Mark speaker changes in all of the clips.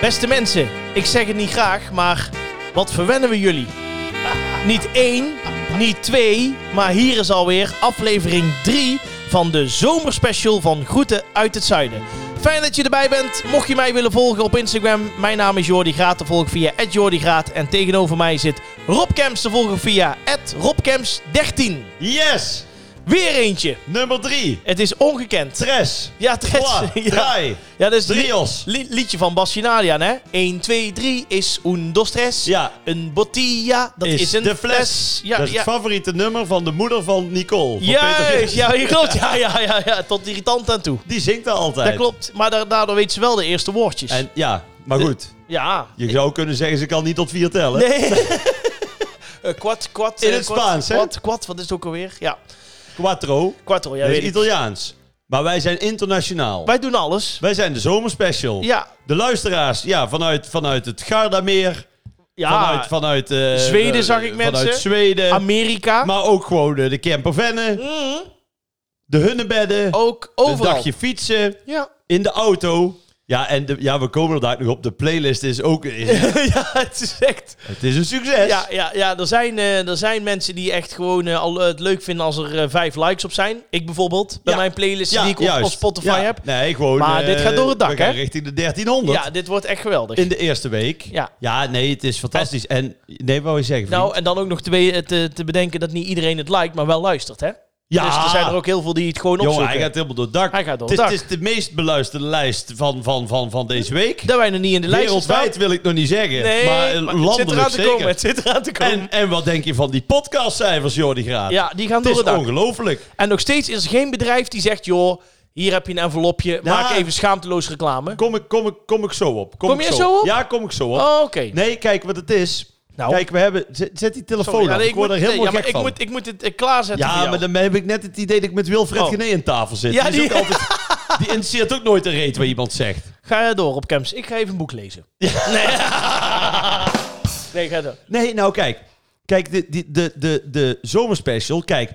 Speaker 1: Beste mensen, ik zeg het niet graag, maar wat verwennen we jullie? Niet één, niet twee, maar hier is alweer aflevering 3 van de zomerspecial van Groeten uit het Zuiden. Fijn dat je erbij bent. Mocht je mij willen volgen op Instagram, mijn naam is Jordi Graat. Te volgen via @jordigraat en tegenover mij zit Rob Kemps te volgen via @robkemps13.
Speaker 2: Yes!
Speaker 1: Weer eentje.
Speaker 2: Nummer 3.
Speaker 1: Het is ongekend.
Speaker 2: Tres.
Speaker 1: Ja, Tres.
Speaker 2: Pla.
Speaker 1: Ja.
Speaker 2: Draai.
Speaker 1: Ja, dat is het li-
Speaker 2: Drios.
Speaker 1: li- liedje van Bassinadian, hè? 1, 2, 3 is un, dos, tres.
Speaker 2: Ja.
Speaker 1: Een botilla, dat is, een
Speaker 2: de fles.
Speaker 1: Ja,
Speaker 2: dat is
Speaker 1: ja.
Speaker 2: het favoriete nummer van de moeder van Nicole. Van Peter
Speaker 1: Juist,
Speaker 2: Giel.
Speaker 1: ja, je klopt. Ja, ja, ja, ja, tot irritant aan toe.
Speaker 2: Die zingt er altijd.
Speaker 1: Dat klopt, maar da- daardoor weet ze wel de eerste woordjes.
Speaker 2: En ja, maar goed.
Speaker 1: ja.
Speaker 2: Je zou kunnen zeggen, ze kan niet tot vier tellen.
Speaker 1: Nee. Eh, Kwart, kwart.
Speaker 2: In
Speaker 1: eh,
Speaker 2: het
Speaker 1: kwart,
Speaker 2: Spaans, hè?
Speaker 1: Kwart, kwart, wat is het ook alweer? Ja,
Speaker 2: Quattro.
Speaker 1: kwartel, ja,
Speaker 2: dat is
Speaker 1: weet ik.
Speaker 2: Italiaans. Maar wij zijn internationaal.
Speaker 1: Wij doen alles.
Speaker 2: Wij zijn de zomerspecial.
Speaker 1: Ja,
Speaker 2: De luisteraars, ja, vanuit, vanuit het Gardameer.
Speaker 1: ja.
Speaker 2: Vanuit, eh, vanuit eh,
Speaker 1: Ah. Zweden
Speaker 2: eh,
Speaker 1: zag ik
Speaker 2: Vanuit
Speaker 1: mensen.
Speaker 2: Zweden.
Speaker 1: Amerika.
Speaker 2: maar ook gewoon eh, de campervennen.
Speaker 1: Mhm.
Speaker 2: De hunnebedden.
Speaker 1: Ook
Speaker 2: Een
Speaker 1: overal.
Speaker 2: dagje fietsen.
Speaker 1: Ja.
Speaker 2: in de auto. Ja, en de, ja, we komen er daar nog op. De playlist is ook... is-
Speaker 1: ja, het is echt...
Speaker 2: het is een succes.
Speaker 1: Ja, ja, ja er, zijn, eh, er zijn mensen die echt gewoon eh, al, eh, het leuk vinden als er eh, vijf likes op zijn. Ik bijvoorbeeld, bij
Speaker 2: Ja.
Speaker 1: mijn playlist
Speaker 2: Ja,
Speaker 1: die ik op, op
Speaker 2: juist.
Speaker 1: Spotify
Speaker 2: Ja.
Speaker 1: heb.
Speaker 2: Nee, gewoon...
Speaker 1: Maar dit
Speaker 2: eh,
Speaker 1: gaat door het dak,
Speaker 2: we gaan
Speaker 1: hè?
Speaker 2: richting de 1300
Speaker 1: Ja, dit wordt echt geweldig.
Speaker 2: in de eerste week.
Speaker 1: Ja.
Speaker 2: nee, het is fantastisch. En nee, wou je zeggen,
Speaker 1: nou,
Speaker 2: vriend?
Speaker 1: en dan ook nog te, te, te bedenken dat niet iedereen het liked, maar wel luistert, hè?
Speaker 2: Ja,
Speaker 1: Dus er zijn er ook heel veel die het gewoon
Speaker 2: jongen,
Speaker 1: opzoeken.
Speaker 2: hij gaat helemaal door het dak.
Speaker 1: Hij gaat door
Speaker 2: het,
Speaker 1: het
Speaker 2: is, het is de meest beluisterde lijst van, van, van, van deze week.
Speaker 1: Dat wij nog niet in de lijst
Speaker 2: Wereldwijd wil ik nog niet zeggen.
Speaker 1: Nee,
Speaker 2: maar eh,
Speaker 1: maar het zit
Speaker 2: landelijk
Speaker 1: eraan te
Speaker 2: zeker.
Speaker 1: komen. Het zit eraan te komen.
Speaker 2: En, en wat denk je van die podcastcijfers, Jordi Graat?
Speaker 1: ja, die gaan
Speaker 2: het
Speaker 1: door
Speaker 2: is
Speaker 1: het dak.
Speaker 2: ongelooflijk.
Speaker 1: En nog steeds is er geen bedrijf die zegt, joh, hier heb je een envelopje, maak even schaamteloos reclame.
Speaker 2: Kom ik, kom ik, kom ik zo op.
Speaker 1: Kom
Speaker 2: ik
Speaker 1: je zo op?
Speaker 2: Ja, kom ik zo op.
Speaker 1: Oh, Oké.
Speaker 2: Nee, kijk wat het is.
Speaker 1: Nou.
Speaker 2: Kijk, we hebben... Zet, zet die telefoon
Speaker 1: Sorry, ja,
Speaker 2: af.
Speaker 1: nee,
Speaker 2: ik word
Speaker 1: moet-
Speaker 2: er helemaal
Speaker 1: nee, ja, maar
Speaker 2: gek van.
Speaker 1: Ik moet, ik moet het eh, klaarzetten voor
Speaker 2: ja,
Speaker 1: jou.
Speaker 2: maar dan heb ik net het idee dat ik met Wilfred
Speaker 1: Oh.
Speaker 2: Gené aan tafel zit.
Speaker 1: Ja,
Speaker 2: die, is
Speaker 1: die-
Speaker 2: ook altijd, die interesseert ook nooit een reet wat iemand zegt.
Speaker 1: Ga jij door op Camps. Ik ga even een boek lezen. Nee, nee ga door.
Speaker 2: Nee, nou kijk. Kijk, de, die- de, de, de zomerspecial. Kijk,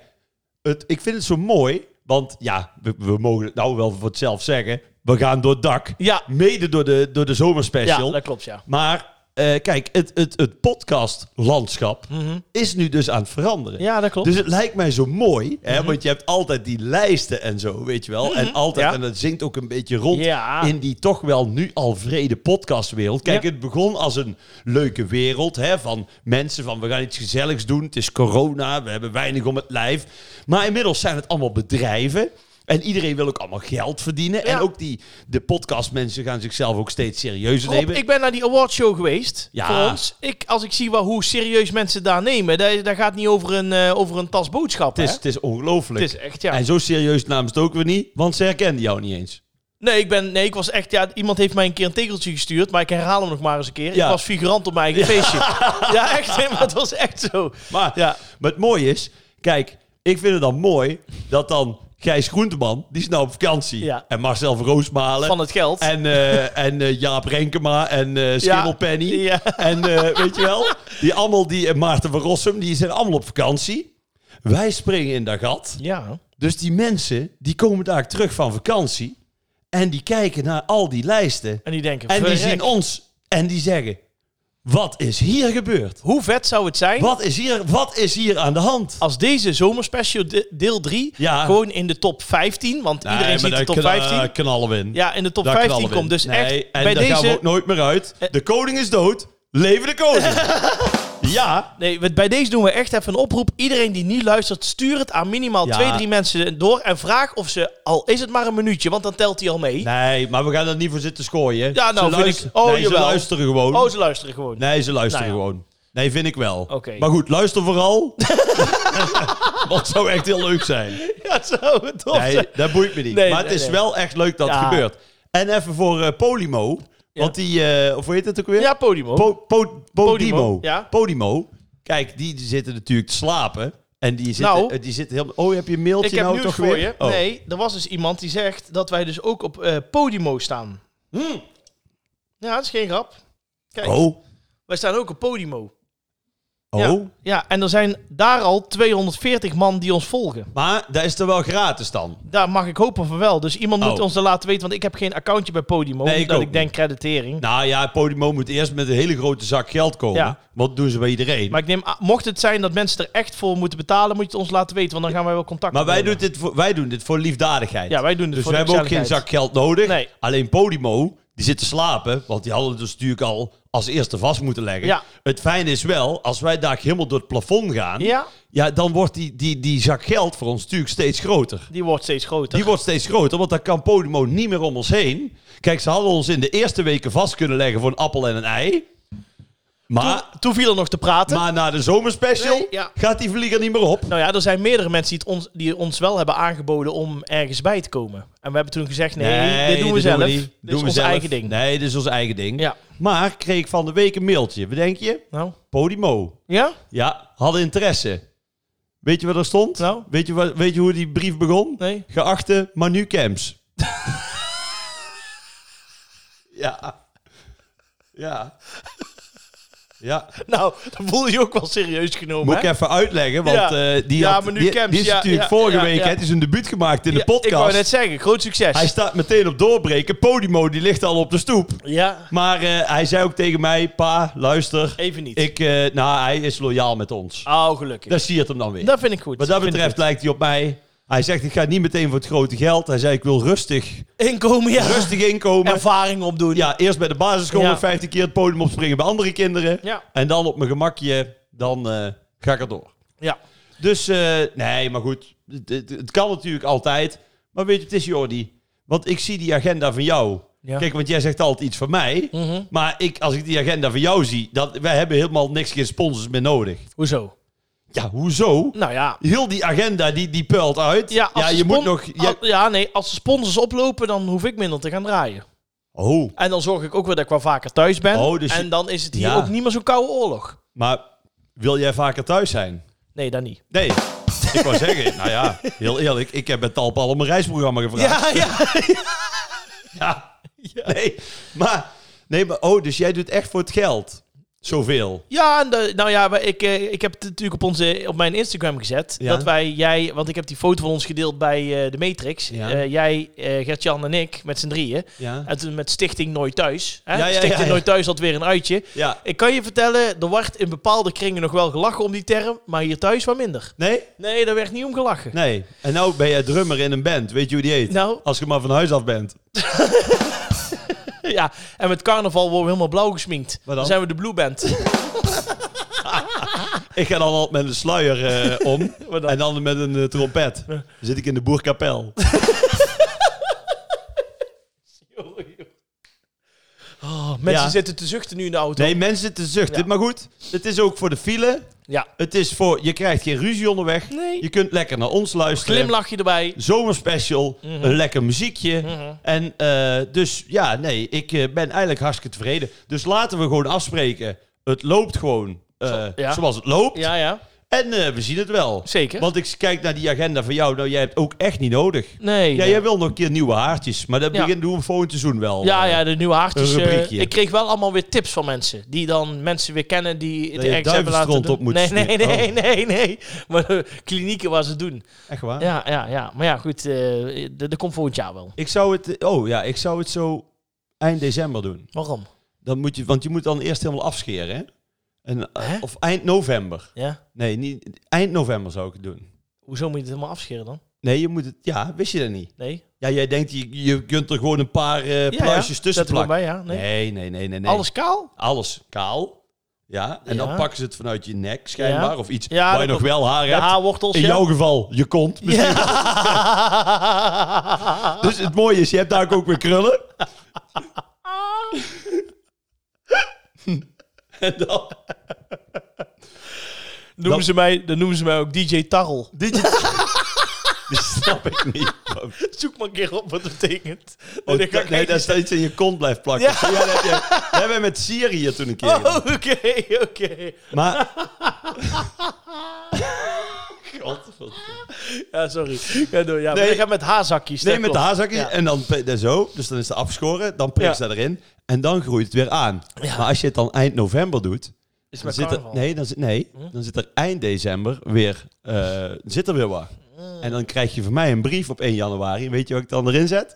Speaker 2: het, ik vind het zo mooi. Want ja, we, we mogen het nou wel voor het zelf zeggen. We gaan door het dak.
Speaker 1: Ja,
Speaker 2: Mede door de, door de
Speaker 1: ja
Speaker 2: zomerspecial.
Speaker 1: dat klopt, ja.
Speaker 2: Maar eh, kijk, het, het, het podcastlandschap is nu dus aan het veranderen.
Speaker 1: Mhm. Ja, dat klopt.
Speaker 2: Dus het lijkt mij zo mooi, hè,
Speaker 1: Mhm.
Speaker 2: want je hebt altijd die lijsten en zo, weet je wel. En altijd,
Speaker 1: Ja.
Speaker 2: en dat zingt ook een beetje rond
Speaker 1: Ja.
Speaker 2: in die toch wel nu al vrede podcastwereld. Kijk,
Speaker 1: Ja.
Speaker 2: het begon als een leuke wereld hè, van mensen van we gaan iets gezelligs doen. Het is corona, we hebben weinig om het lijf. Maar inmiddels zijn het allemaal bedrijven. En iedereen wil ook allemaal geld verdienen.
Speaker 1: Ja.
Speaker 2: En ook die, de podcastmensen gaan zichzelf ook steeds serieuzer
Speaker 1: Rob,
Speaker 2: nemen.
Speaker 1: ik ben naar die awardshow geweest.
Speaker 2: Ja.
Speaker 1: Voor ons. Ik, als ik zie wel hoe serieus mensen daar nemen. Daar, daar gaat niet over een, eh, over een tas boodschappen.
Speaker 2: Het
Speaker 1: hè?
Speaker 2: is, het is ongelooflijk.
Speaker 1: Het is echt, ja.
Speaker 2: En zo serieus namen ze het ook weer niet, want ze herkenden jou niet eens.
Speaker 1: Nee, ik ben, nee, ik was echt, ja, iemand heeft mij een keer een tegeltje gestuurd, maar ik herhaal hem nog maar eens een keer.
Speaker 2: Ja.
Speaker 1: Ik was figurant op mijn eigen feestje. Ja, echt, hè, maar dat was echt zo.
Speaker 2: Maar,
Speaker 1: Ja.
Speaker 2: maar het mooie is, kijk, ik vind het dan mooi dat dan Gijs Groenteman, die is nou op vakantie,
Speaker 1: Ja.
Speaker 2: en Marcel van Roosmalen,
Speaker 1: Van het geld.
Speaker 2: en, eh, en eh, Jaap Renkema en eh Schimmelpenny,
Speaker 1: Ja.
Speaker 2: en eh, weet je wel, die allemaal, die, en Maarten van Rossum, die zijn allemaal op vakantie. Wij springen in dat gat.
Speaker 1: Ja.
Speaker 2: Dus die mensen, die komen daar terug van vakantie en die kijken naar al die lijsten.
Speaker 1: En die denken,
Speaker 2: En die
Speaker 1: verrek,
Speaker 2: zien ons en die zeggen: Wat is hier gebeurd?
Speaker 1: hoe vet zou het zijn
Speaker 2: Wat is hier, wat is hier aan de hand?
Speaker 1: als deze zomerspecial de- deel 3
Speaker 2: Ja.
Speaker 1: gewoon in de top 15, want iedereen ziet de top 15.
Speaker 2: knallen we in.
Speaker 1: Ja, in de top
Speaker 2: Daar
Speaker 1: 15
Speaker 2: knallen we in.
Speaker 1: komt. Dus
Speaker 2: Nee,
Speaker 1: echt,
Speaker 2: en
Speaker 1: bij
Speaker 2: daar gaan we
Speaker 1: deze,
Speaker 2: ook nooit meer uit.
Speaker 1: Eh.
Speaker 2: De koning is dood. Leven de koning. ja.
Speaker 1: nee, we- bij deze doen we echt even een oproep. Iedereen die niet luistert, stuur het aan minimaal
Speaker 2: Ja.
Speaker 1: twee, drie mensen door. En vraag of ze, al is het maar een minuutje, want dan telt hij al mee.
Speaker 2: Nee, maar we gaan er niet voor zitten schooien.
Speaker 1: Ja, nou,
Speaker 2: ze
Speaker 1: vind
Speaker 2: luisteren,
Speaker 1: ik- oh,
Speaker 2: nee, ze
Speaker 1: jawel.
Speaker 2: luisteren gewoon.
Speaker 1: Oh, ze luisteren gewoon.
Speaker 2: Nee, ze luisteren
Speaker 1: Nou ja.
Speaker 2: gewoon. Nee, vind ik wel.
Speaker 1: Oké.
Speaker 2: Maar goed, luister vooral. Wat zou echt heel leuk zijn.
Speaker 1: Ja, zou het tof
Speaker 2: Nee,
Speaker 1: zijn.
Speaker 2: dat boeit me niet.
Speaker 1: Nee,
Speaker 2: maar
Speaker 1: nee,
Speaker 2: het is
Speaker 1: nee.
Speaker 2: wel echt leuk dat
Speaker 1: Ja.
Speaker 2: het gebeurt. En even voor eh, Podimo. Want die, eh, of hoe heet het ook weer?
Speaker 1: Ja, Podimo.
Speaker 2: Po- po- Podimo.
Speaker 1: Oh. Podimo, ja.
Speaker 2: Podimo. Kijk, die zitten natuurlijk te slapen. En die zitten,
Speaker 1: Nou.
Speaker 2: eh, die zitten heel... Oh, heb je een mailtje
Speaker 1: ik heb
Speaker 2: nou
Speaker 1: nieuws
Speaker 2: toch
Speaker 1: voor
Speaker 2: weer?
Speaker 1: je.
Speaker 2: Oh.
Speaker 1: Nee, er was dus iemand die zegt dat wij dus ook op eh, Podimo staan.
Speaker 2: Hmm.
Speaker 1: Ja, dat is geen grap. Kijk,
Speaker 2: Oh,
Speaker 1: wij staan ook op Podimo.
Speaker 2: Oh,
Speaker 1: Ja, ja, en er zijn daar al 240 man die ons volgen.
Speaker 2: maar dat is er wel gratis dan?
Speaker 1: Daar mag ik hopen van wel. Dus iemand moet
Speaker 2: Oh.
Speaker 1: ons dat laten weten, want ik heb geen accountje bij Podimo.
Speaker 2: Nee, ik
Speaker 1: omdat
Speaker 2: ook
Speaker 1: ik denk creditering.
Speaker 2: Nou ja, Podimo moet eerst met een hele grote zak geld komen.
Speaker 1: Ja.
Speaker 2: Want dat doen ze bij iedereen.
Speaker 1: Maar
Speaker 2: Maar,
Speaker 1: ik neem, a- mocht het zijn dat mensen er echt voor moeten betalen, moet je het ons laten weten, want dan gaan wij wel contact
Speaker 2: wij, doen
Speaker 1: opnemen.
Speaker 2: dit voor, wij doen dit voor liefdadigheid.
Speaker 1: Ja, wij doen het
Speaker 2: dus
Speaker 1: voor
Speaker 2: we
Speaker 1: de
Speaker 2: hebben ook geen
Speaker 1: gezelligheid.
Speaker 2: zak geld nodig.
Speaker 1: Nee.
Speaker 2: Alleen Podimo, die zit te slapen. Want die hadden het dus natuurlijk al als eerste vast moeten leggen.
Speaker 1: Ja.
Speaker 2: Het fijne is wel, als wij daar helemaal door het plafond gaan...
Speaker 1: Ja,
Speaker 2: Ja, dan wordt die, die, die zak geld voor ons natuurlijk steeds groter.
Speaker 1: die wordt steeds groter.
Speaker 2: Die wordt steeds groter, want dan kan Podimo niet meer om ons heen. Kijk, ze hadden ons in de eerste weken vast kunnen leggen voor een appel en een ei. Maar,
Speaker 1: toen, toen viel er nog te praten.
Speaker 2: maar na de zomerspecial
Speaker 1: Nee, ja.
Speaker 2: gaat die vlieger niet meer op.
Speaker 1: Nou ja, er zijn meerdere mensen die, het ons, die ons wel hebben aangeboden om ergens bij te komen. En we hebben toen gezegd, nee, dit doen we
Speaker 2: dat
Speaker 1: zelf.
Speaker 2: niet.
Speaker 1: dit
Speaker 2: Doen
Speaker 1: is
Speaker 2: we
Speaker 1: ons
Speaker 2: zelf.
Speaker 1: eigen ding.
Speaker 2: Nee, dit is ons eigen ding.
Speaker 1: Ja,
Speaker 2: Maar kreeg ik van de week een mailtje. Wat denk je?
Speaker 1: nou.
Speaker 2: Podimo.
Speaker 1: Ja?
Speaker 2: Ja, hadden interesse. Weet je wat er stond?
Speaker 1: Nou?
Speaker 2: Weet, je wat, weet je hoe die brief begon?
Speaker 1: Nee?
Speaker 2: Geachte Manu Camps. ja. Ja. Ja.
Speaker 1: Nou, dan voel je je ook wel serieus genomen,
Speaker 2: Moet ik
Speaker 1: hè?
Speaker 2: even uitleggen, want
Speaker 1: Ja.
Speaker 2: eh, die,
Speaker 1: Ja,
Speaker 2: had-
Speaker 1: Manu
Speaker 2: die,
Speaker 1: Camps,
Speaker 2: die is
Speaker 1: ja,
Speaker 2: natuurlijk
Speaker 1: ja,
Speaker 2: vorige
Speaker 1: ja,
Speaker 2: week,
Speaker 1: ja.
Speaker 2: hè, het is een debuut gemaakt in
Speaker 1: Ja,
Speaker 2: de podcast.
Speaker 1: Ik wou net zeggen, groot succes.
Speaker 2: Hij staat meteen op doorbreken. Podimo, die ligt al op de stoep.
Speaker 1: Ja,
Speaker 2: Maar eh, hij zei ook tegen mij, pa, luister.
Speaker 1: even niet.
Speaker 2: Ik, eh, nou, hij is loyaal met ons.
Speaker 1: Oh, gelukkig.
Speaker 2: Dat siert hem dan weer.
Speaker 1: dat vind ik goed.
Speaker 2: Wat dat
Speaker 1: Vind ik
Speaker 2: betreft lijkt hij op mij. Hij zegt, ik ga niet meteen voor het grote geld. Hij zei, ik wil rustig,
Speaker 1: goed. Inkomen, ja.
Speaker 2: rustig inkomen.
Speaker 1: Ervaring opdoen.
Speaker 2: Ja, eerst bij de basisschool
Speaker 1: Ja.
Speaker 2: nog 15 keer het podium opspringen bij andere kinderen.
Speaker 1: Ja.
Speaker 2: En dan op mijn gemakje, dan eh, ga ik erdoor.
Speaker 1: Ja.
Speaker 2: Dus, eh, nee, maar goed. Het, het- het kan natuurlijk altijd. Maar weet je, het is Jordi. Want ik zie die agenda van jou.
Speaker 1: Ja.
Speaker 2: Kijk, want jij zegt altijd iets van mij.
Speaker 1: Mhm.
Speaker 2: Maar ik, als ik die agenda van jou zie, dat, wij hebben helemaal niks, geen sponsors meer nodig.
Speaker 1: Hoezo?
Speaker 2: Ja, hoezo?
Speaker 1: Nou ja.
Speaker 2: Heel die agenda, die, die puilt uit.
Speaker 1: Ja, als de
Speaker 2: je moet
Speaker 1: spon-
Speaker 2: nog... Ja,
Speaker 1: al- ja, nee, als de sponsors oplopen, dan hoef ik minder te gaan draaien.
Speaker 2: oh,
Speaker 1: En dan zorg ik ook weer dat ik wel vaker thuis ben.
Speaker 2: Oh, dus je-
Speaker 1: en dan is het hier
Speaker 2: Ja.
Speaker 1: ook niet meer zo'n koude oorlog.
Speaker 2: maar wil jij vaker thuis zijn?
Speaker 1: Nee, dat niet.
Speaker 2: Nee. Ik wou zeggen, nou ja, heel eerlijk, ik heb met Talpa al om een reisprogramma gevraagd.
Speaker 1: ja.
Speaker 2: Ja. Nee, maar, nee, maar, oh, dus jij doet echt voor het geld zoveel.
Speaker 1: Ja, en de- nou ja, maar ik, eh, ik heb het natuurlijk op, onze, op mijn Instagram gezet.
Speaker 2: Ja.
Speaker 1: Dat wij, jij, want ik heb die foto van ons gedeeld bij eh, de Matrix.
Speaker 2: Ja.
Speaker 1: Eh, jij, eh Gert-Jan en ik, met z'n drieën.
Speaker 2: Ja.
Speaker 1: En toen met Stichting Nooit Thuis. Hè?
Speaker 2: Ja, ja,
Speaker 1: Stichting
Speaker 2: ja, ja.
Speaker 1: Nooit Thuis had weer een uitje.
Speaker 2: Ja.
Speaker 1: Ik kan je vertellen, er wordt in bepaalde kringen nog wel gelachen om die term, maar hier thuis wat minder.
Speaker 2: Nee?
Speaker 1: Nee, daar werd niet om gelachen.
Speaker 2: Nee. En nou ben jij drummer in een band. Weet je hoe die heet?
Speaker 1: Nou,
Speaker 2: Als je maar van huis af bent.
Speaker 1: ja, en met carnaval worden we helemaal blauw gesminkt.
Speaker 2: dan?
Speaker 1: zijn we de Blue Band.
Speaker 2: Ik ga dan altijd met een sluier eh, om.
Speaker 1: Wat dan?
Speaker 2: en dan met een eh, trompet. Dan zit ik in de boerkapel.
Speaker 1: Oh, mensen
Speaker 2: Ja.
Speaker 1: zitten te zuchten nu in de auto.
Speaker 2: Nee, mensen zitten zuchten.
Speaker 1: Ja.
Speaker 2: Maar goed, het is ook voor de file.
Speaker 1: Ja.
Speaker 2: Het is voor, je krijgt geen ruzie onderweg.
Speaker 1: Nee.
Speaker 2: Je kunt lekker naar ons luisteren.
Speaker 1: Glimlachje erbij.
Speaker 2: Zomerspecial,
Speaker 1: Mhm.
Speaker 2: een lekker muziekje.
Speaker 1: Mhm.
Speaker 2: En eh, dus ja, nee, ik eh, ben eigenlijk hartstikke tevreden. Dus laten we gewoon afspreken. Het loopt gewoon eh,
Speaker 1: Zo- ja.
Speaker 2: zoals het loopt.
Speaker 1: Ja, ja,
Speaker 2: En eh, we zien het wel.
Speaker 1: zeker.
Speaker 2: Want ik kijk naar die agenda van jou. Nou, jij hebt ook echt niet nodig.
Speaker 1: Nee.
Speaker 2: Ja,
Speaker 1: nee.
Speaker 2: jij wil nog een keer nieuwe haartjes. Maar dat
Speaker 1: Ja.
Speaker 2: begint doen we volgend seizoen wel.
Speaker 1: Ja, ja, de nieuwe haartjes.
Speaker 2: Een
Speaker 1: eh,
Speaker 2: rubriekje.
Speaker 1: ik kreeg wel allemaal weer tips van mensen. Die dan mensen weer kennen die het
Speaker 2: je
Speaker 1: ergens hebben laten
Speaker 2: duivenstront
Speaker 1: doen.
Speaker 2: op moet Oh.
Speaker 1: nee, nee,
Speaker 2: slikken.
Speaker 1: nee, nee, nee. Maar eh, klinieken waar ze het doen.
Speaker 2: Echt waar?
Speaker 1: Ja, ja, ja. Maar ja, goed. eh, d- dat komt volgend jaar wel.
Speaker 2: Ik zou het, oh ja, ik zou het zo eind december doen.
Speaker 1: Waarom?
Speaker 2: Dan moet je, want je moet dan eerst helemaal afscheren. Hè? En, eh,
Speaker 1: Hè?
Speaker 2: of eind november.
Speaker 1: Ja?
Speaker 2: Nee, niet, eind november zou ik het doen.
Speaker 1: Hoezo moet je het helemaal afscheren dan?
Speaker 2: Nee, je moet het, ja, wist je dat niet?
Speaker 1: Nee?
Speaker 2: Ja, jij denkt, je, je kunt er gewoon een paar eh
Speaker 1: Ja,
Speaker 2: pluisjes
Speaker 1: ja.
Speaker 2: tussen
Speaker 1: Zet er gewoon
Speaker 2: plakken.
Speaker 1: bij, ja. Nee.
Speaker 2: Nee, nee, nee, nee. nee.
Speaker 1: Alles kaal?
Speaker 2: Alles kaal. Ja, en
Speaker 1: Ja.
Speaker 2: dan pakken ze het vanuit je nek schijnbaar.
Speaker 1: Ja.
Speaker 2: Of iets
Speaker 1: Ja,
Speaker 2: waar
Speaker 1: dat
Speaker 2: je nog
Speaker 1: klopt.
Speaker 2: wel haar
Speaker 1: De
Speaker 2: hebt.
Speaker 1: haarwortels,
Speaker 2: In
Speaker 1: ja.
Speaker 2: jouw geval, je kont. misschien.
Speaker 1: Ja.
Speaker 2: Dus het mooie is, je hebt daar ook weer krullen.
Speaker 1: Ah.
Speaker 2: en dan...
Speaker 1: noemen ze mij, dan noemen ze mij ook DJ Tarrel.
Speaker 2: Dit Die snap ik niet.
Speaker 1: Zoek maar een keer op wat dat betekent.
Speaker 2: Oh,
Speaker 1: En dan ga ik
Speaker 2: nee,
Speaker 1: echt-
Speaker 2: daar staat iets in je kont blijft plakken.
Speaker 1: Ja.
Speaker 2: Ja. dat, heb je, dat hebben we met Syrië toen een keer gedaan.
Speaker 1: Oh, Oké, oké.
Speaker 2: Maar...
Speaker 1: Ja, sorry. Ja, door, ja.
Speaker 2: Nee.
Speaker 1: Maar je gaat met haarzakjes.
Speaker 2: Nee,
Speaker 1: dat
Speaker 2: met de
Speaker 1: klopt.
Speaker 2: haarzakjes
Speaker 1: Ja.
Speaker 2: en dan pe- en zo. Dus dan is het afgeschoren, dan prikt
Speaker 1: Ja.
Speaker 2: ze erin en dan groeit het weer aan.
Speaker 1: Ja.
Speaker 2: Maar als je het dan eind november doet,
Speaker 1: Is
Speaker 2: Dan
Speaker 1: het
Speaker 2: zit
Speaker 1: met
Speaker 2: er,
Speaker 1: carnaval? Hm?
Speaker 2: nee, dan zit, nee, dan zit er eind december weer, eh, zit er weer wat.
Speaker 1: Hm.
Speaker 2: En dan krijg je van mij een brief op 1 januari. Weet je wat ik dan erin zet?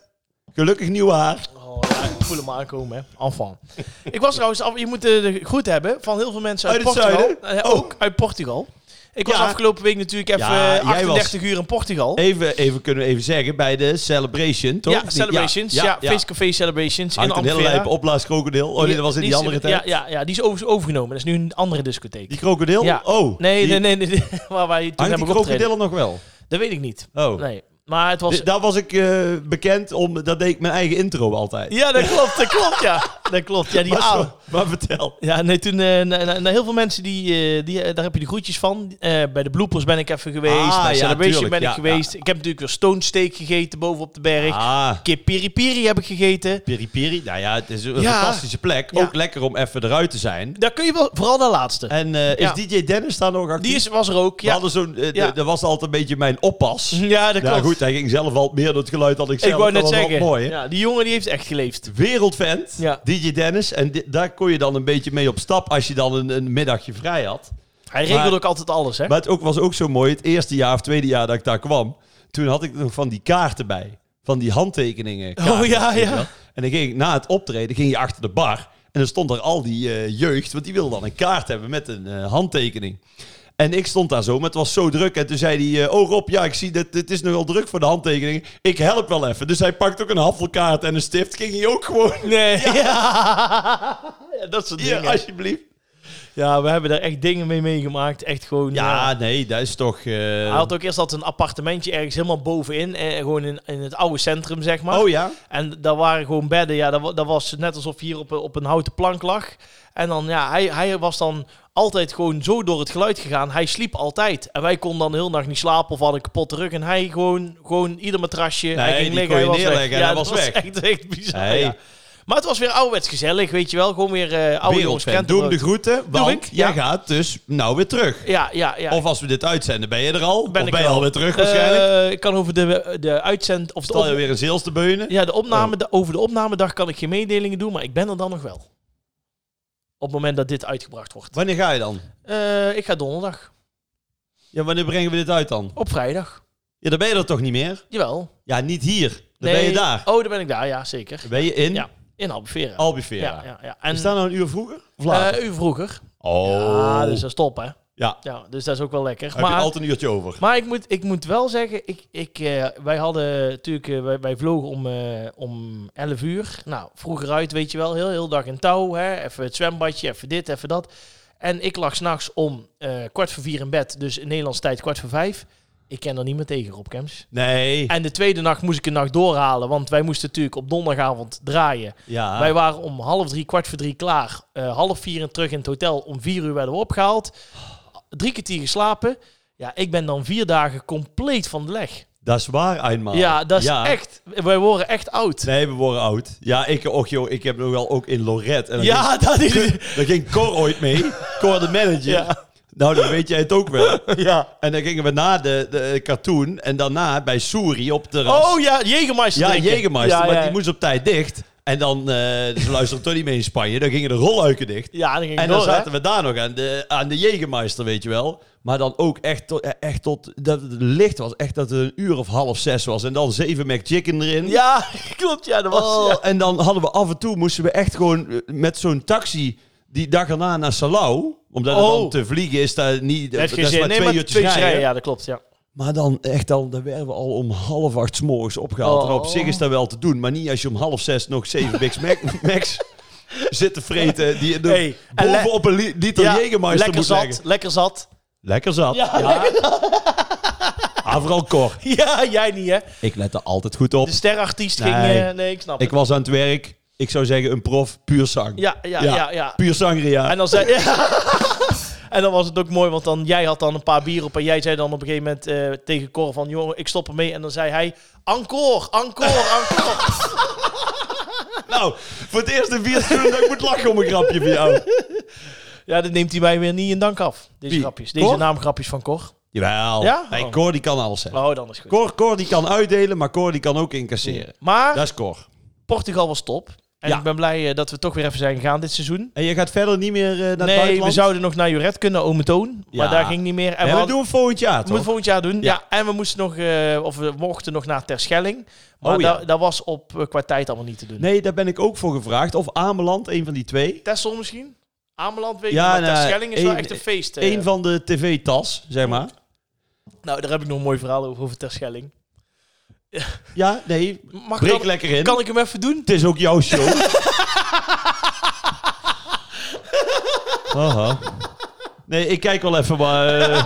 Speaker 2: Gelukkig nieuw haar.
Speaker 1: Oh, ja, ik voel hem aankomen, hè. Enfant. ik was trouwens... af- je moet eh, de goed hebben van heel veel mensen uit,
Speaker 2: Uit het
Speaker 1: Portugal.
Speaker 2: zuiden?
Speaker 1: Eh, ook uit Portugal. Ik was
Speaker 2: Ja.
Speaker 1: afgelopen week natuurlijk even
Speaker 2: Ja,
Speaker 1: eh,
Speaker 2: jij was-
Speaker 1: 38 uur in Portugal.
Speaker 2: Even, even kunnen we even zeggen bij de Celebration, toch?
Speaker 1: ja,
Speaker 2: Die-
Speaker 1: celebrations. Ja, face-to-face celebrations
Speaker 2: Hangt
Speaker 1: in
Speaker 2: een hele
Speaker 1: Amphera.
Speaker 2: lijpe opblaaskrokodil. Oh nee, dat was in die
Speaker 1: is-
Speaker 2: andere tijd.
Speaker 1: Ja, ja, ja, die is overigens overgenomen. Dat is nu een andere discotheek.
Speaker 2: Die krokodil?
Speaker 1: Ja.
Speaker 2: Oh.
Speaker 1: nee,
Speaker 2: die,
Speaker 1: nee, nee, nee, Waar wij toen
Speaker 2: Hangt die
Speaker 1: hebben opgetreden.
Speaker 2: krokodil er nog wel?
Speaker 1: Dat weet ik niet.
Speaker 2: Oh.
Speaker 1: Nee. Maar het was...
Speaker 2: D- Daar was ik eh, bekend om, dat deed ik mijn eigen intro altijd.
Speaker 1: Ja, dat klopt, dat klopt, ja. Dat klopt, ja, die
Speaker 2: maar, zo-
Speaker 1: oude.
Speaker 2: maar vertel.
Speaker 1: Ja, nee, toen, eh, na, na- na heel veel mensen, die, eh, die, eh, daar heb je de groetjes van. Eh, bij de bloepers ben ik even geweest,
Speaker 2: Ah,
Speaker 1: bij
Speaker 2: ja,
Speaker 1: Celebration
Speaker 2: tuurlijk,
Speaker 1: ben ik
Speaker 2: ja,
Speaker 1: geweest. Ik heb natuurlijk weer Stone Steak gegeten bovenop de berg. Een
Speaker 2: Ah,
Speaker 1: keer Piri Piri heb ik gegeten.
Speaker 2: Piri Piri. Nou ja, het is een
Speaker 1: Ja.
Speaker 2: fantastische plek.
Speaker 1: Ja.
Speaker 2: Ook lekker om even eruit te zijn.
Speaker 1: Daar kun je wel, vooral de laatste.
Speaker 2: En eh, is
Speaker 1: Ja.
Speaker 2: DJ Dennis daar nog actief?
Speaker 1: Die is, was er ook,
Speaker 2: We
Speaker 1: ja.
Speaker 2: hadden zo'n, eh, de-
Speaker 1: Ja.
Speaker 2: dat was altijd een beetje mijn oppas.
Speaker 1: Ja, dat
Speaker 2: Nou
Speaker 1: klopt.
Speaker 2: goed, hij ging zelf al meer door het geluid dan ik zelf.
Speaker 1: ik wou
Speaker 2: Dat
Speaker 1: net
Speaker 2: was wel
Speaker 1: zeggen,
Speaker 2: Mooi, hè?
Speaker 1: ja, die jongen die heeft echt geleefd.
Speaker 2: Wereldvent,
Speaker 1: Ja.
Speaker 2: DJ Dennis. En di- daar kon je dan een beetje mee op stap als je dan een, een middagje vrij had.
Speaker 1: Hij regelde
Speaker 2: Maar-
Speaker 1: ook altijd alles, hè.
Speaker 2: Maar het ook, was ook zo mooi, het eerste jaar of tweede jaar dat ik daar kwam, toen had ik nog van die kaarten bij. Van die handtekeningen. kaarten,
Speaker 1: Oh, ja,
Speaker 2: weet je
Speaker 1: ja.
Speaker 2: wel. En dan ging ik na het optreden, ging je achter de bar. En dan stond daar al die eh, jeugd, want die wilde dan een kaart hebben met een eh, handtekening. En ik stond daar zo, maar het was zo druk. En toen zei hij, eh, oh Rob, ja, ik zie dat het is nogal druk voor de handtekeningen. Ik help wel even. Dus hij pakt ook een haffelkaart en een stift. Ging hij ook gewoon,
Speaker 1: Nee, ja. Ja, dat soort
Speaker 2: hier,
Speaker 1: dingen.
Speaker 2: alsjeblieft.
Speaker 1: Ja, we hebben daar echt dingen mee meegemaakt. Echt gewoon...
Speaker 2: Ja,
Speaker 1: eh,
Speaker 2: nee, dat is toch... eh,
Speaker 1: Hij had ook eerst altijd een appartementje ergens helemaal bovenin. eh, gewoon in, in het oude centrum, zeg maar.
Speaker 2: Oh ja?
Speaker 1: En daar waren gewoon bedden. Ja, dat, wa- dat was net alsof je hier op, een- op een houten plank lag. En dan, ja, hij, hij was dan altijd gewoon zo door het geluid gegaan. Hij sliep altijd. En wij konden dan de hele nacht niet slapen of hadden een kapotte rug. En hij gewoon, gewoon ieder matrasje. hij ging
Speaker 2: die
Speaker 1: liggen,
Speaker 2: kon je
Speaker 1: hij was
Speaker 2: neerleggen
Speaker 1: weg.
Speaker 2: en
Speaker 1: ja,
Speaker 2: hij
Speaker 1: dat
Speaker 2: was weg.
Speaker 1: Echt, echt bizar,
Speaker 2: Nee.
Speaker 1: ja. Maar het was weer ouderwets gezellig, weet je wel. Gewoon weer eh oude jongens
Speaker 2: Wereldfan. Doe hem de
Speaker 1: krentenbrood.
Speaker 2: groeten, want
Speaker 1: ik,
Speaker 2: jij
Speaker 1: ja.
Speaker 2: gaat dus nou weer terug.
Speaker 1: Ja, ja, ja.
Speaker 2: Of als we dit uitzenden, ben je er al?
Speaker 1: Ben
Speaker 2: of
Speaker 1: ik
Speaker 2: ben je
Speaker 1: er al.
Speaker 2: alweer terug waarschijnlijk?
Speaker 1: Eh, ik kan over de, de uitzend... Of de
Speaker 2: Stel je
Speaker 1: op-
Speaker 2: weer een zeels te beunen?
Speaker 1: Ja, de opname,
Speaker 2: Oh.
Speaker 1: de- over de opnamedag kan ik geen mededelingen doen, maar ik ben er dan nog wel. Op het moment dat dit uitgebracht wordt.
Speaker 2: Wanneer ga je dan?
Speaker 1: Eh, ik ga donderdag.
Speaker 2: Ja, wanneer brengen we dit uit dan?
Speaker 1: Op vrijdag.
Speaker 2: Ja, dan ben je er toch niet meer?
Speaker 1: Jawel.
Speaker 2: Ja, niet hier. Dan
Speaker 1: Nee.
Speaker 2: ben je daar.
Speaker 1: Oh, dan ben ik daar, ja, zeker.
Speaker 2: Dan ben je in
Speaker 1: Ja, in Albufeira.
Speaker 2: Albufeira.
Speaker 1: ja, ja, ja. En
Speaker 2: Is dat nou een uur vroeger? Of later?
Speaker 1: eh, u vroeger.
Speaker 2: oh.
Speaker 1: Ja, dus dat is top, hè.
Speaker 2: Ja.
Speaker 1: Ja, dus dat is ook wel lekker.
Speaker 2: Heb je
Speaker 1: maar
Speaker 2: altijd een uurtje over?
Speaker 1: maar ik, moet, ik moet wel zeggen, ik, ik, eh, wij hadden natuurlijk, eh, wij, wij vlogen om, eh, om 11 uur. Nou, vroeger uit, weet je wel, heel, heel dag in touw. Hè? Even het zwembadje, even dit, even dat. En ik lag s'nachts om eh, kwart voor vier in bed, dus in Nederlandse tijd kwart voor vijf. Ik ken er niet meer tegen, Rob Kems.
Speaker 2: Nee.
Speaker 1: En de tweede nacht moest ik een nacht doorhalen, want wij moesten natuurlijk op donderdagavond draaien.
Speaker 2: Ja.
Speaker 1: Ah. Wij waren om half drie, kwart voor drie klaar. Eh, half vier en terug in het hotel. Om vier uur werden we opgehaald. Drie kwartier geslapen. Ja, ik ben dan vier dagen compleet van de leg.
Speaker 2: Dat is waar, Einmal.
Speaker 1: ja, dat is echt... Wij worden echt oud.
Speaker 2: Nee, we worden oud. Ja, ik, och, joh, ik heb nog wel ook in Lorette. En dan ging-
Speaker 1: ja, dat is...
Speaker 2: Daar ging Cor ooit mee. Cor de manager.
Speaker 1: Ja.
Speaker 2: Nou, dan weet jij het ook wel.
Speaker 1: Ja.
Speaker 2: En dan gingen we na de, de cartoon en daarna bij Soeri op de
Speaker 1: Oh ja, Jägermeister
Speaker 2: ja,
Speaker 1: drinken.
Speaker 2: Jägermeister,
Speaker 1: Ja, ja.
Speaker 2: maar die moest op tijd dicht. En dan, eh ze luisteren toch niet mee in Spanje, dan gingen de rolluiken dicht.
Speaker 1: Ja, dan ging
Speaker 2: En
Speaker 1: ik
Speaker 2: dan
Speaker 1: door, hè.
Speaker 2: zaten we daar nog aan de, aan de Jägermeister, weet je wel. Maar dan ook echt tot, eh, echt tot dat het licht was, echt dat het een uur of half zes was. En dan zeven McChicken erin.
Speaker 1: Ja, klopt. Ja, dat was...
Speaker 2: Oh,
Speaker 1: ja.
Speaker 2: En dan hadden we af en toe moesten we echt gewoon eh, met zo'n taxi die dag erna naar Salau. Omdat het
Speaker 1: Oh.
Speaker 2: dan te vliegen is, daar niet,
Speaker 1: Dat
Speaker 2: dat
Speaker 1: heeft geen
Speaker 2: is
Speaker 1: zin.
Speaker 2: maar
Speaker 1: Nee,
Speaker 2: twee
Speaker 1: maar
Speaker 2: uurtjes rijden.
Speaker 1: Ja, dat klopt, ja.
Speaker 2: Maar dan echt al, dan werden we al om half acht 's morgens opgehaald. En op
Speaker 1: Oh.
Speaker 2: zich is dat wel te doen, maar niet als je om half zes nog zeven Big Mac, Macs zit te vreten. Die de,
Speaker 1: Hey, en le-
Speaker 2: bovenop een li- liter
Speaker 1: ja
Speaker 2: Jägermeister
Speaker 1: lekker
Speaker 2: moet
Speaker 1: zat,
Speaker 2: leggen.
Speaker 1: lekker zat.
Speaker 2: Lekker zat.
Speaker 1: Ja,
Speaker 2: Ah, vooral Cor.
Speaker 1: Ja, jij niet, hè.
Speaker 2: Ik let er altijd goed op.
Speaker 1: De sterartiest ging...
Speaker 2: Nee.
Speaker 1: eh, nee, ik snap
Speaker 2: Ik
Speaker 1: het.
Speaker 2: was aan het werk. Ik zou zeggen een prof, puur zang.
Speaker 1: Ja, ja,
Speaker 2: Ja.
Speaker 1: ja, ja.
Speaker 2: Puur sangria.
Speaker 1: En dan, zei, en dan was het ook mooi, want dan, jij had dan een paar bier op. En jij zei dan op een gegeven moment eh, tegen Cor van... jongen, ik stop ermee. En dan zei hij... encore, encore, encore.
Speaker 2: Nou, voor het eerst in vier seizoenen dat ik moet lachen om een grapje van jou.
Speaker 1: ja, dat neemt hij mij weer niet in dank af. Deze
Speaker 2: Wie?
Speaker 1: grapjes. Deze
Speaker 2: Cor?
Speaker 1: naamgrapjes van Cor.
Speaker 2: Jawel.
Speaker 1: Ja?
Speaker 2: Hey, Cor die kan alles hebben.
Speaker 1: Oh, dan is het goed.
Speaker 2: Cor, Cor die kan uitdelen, maar Cor die kan ook incasseren.
Speaker 1: Maar
Speaker 2: Dat is Cor.
Speaker 1: Portugal was top. En
Speaker 2: Ja.
Speaker 1: ik ben blij eh, dat we toch weer even zijn gegaan dit seizoen.
Speaker 2: En je gaat verder niet meer eh, naar het
Speaker 1: nee, we
Speaker 2: buitenland?
Speaker 1: zouden nog naar Juret kunnen, Ome Toon.
Speaker 2: Ja.
Speaker 1: Maar daar ging niet meer. En
Speaker 2: Nee,
Speaker 1: we
Speaker 2: maar dat
Speaker 1: hadden-
Speaker 2: doen we volgend jaar,
Speaker 1: we moeten
Speaker 2: toch?
Speaker 1: het volgend jaar doen.
Speaker 2: Ja.
Speaker 1: Ja. en we moesten nog, eh, of we mochten nog naar Terschelling. Maar
Speaker 2: Oh, ja.
Speaker 1: dat, dat was op eh, qua tijd allemaal niet te doen.
Speaker 2: Nee, daar ben ik ook voor gevraagd. Of Ameland, een van die twee.
Speaker 1: Tessel misschien? Ameland weet ik
Speaker 2: Ja,
Speaker 1: niet, maar
Speaker 2: nou,
Speaker 1: Terschelling is wel
Speaker 2: één-
Speaker 1: echt een feest. eh.
Speaker 2: Eén van de tv-tas, zeg maar.
Speaker 1: Nou, daar heb ik nog een mooi verhaal over, over Terschelling.
Speaker 2: Ja, nee.
Speaker 1: Mag ik
Speaker 2: Breek
Speaker 1: dan,
Speaker 2: lekker in.
Speaker 1: kan ik hem even doen?
Speaker 2: Het is ook jouw show. Haha. Nee, ik kijk wel even wat, eh,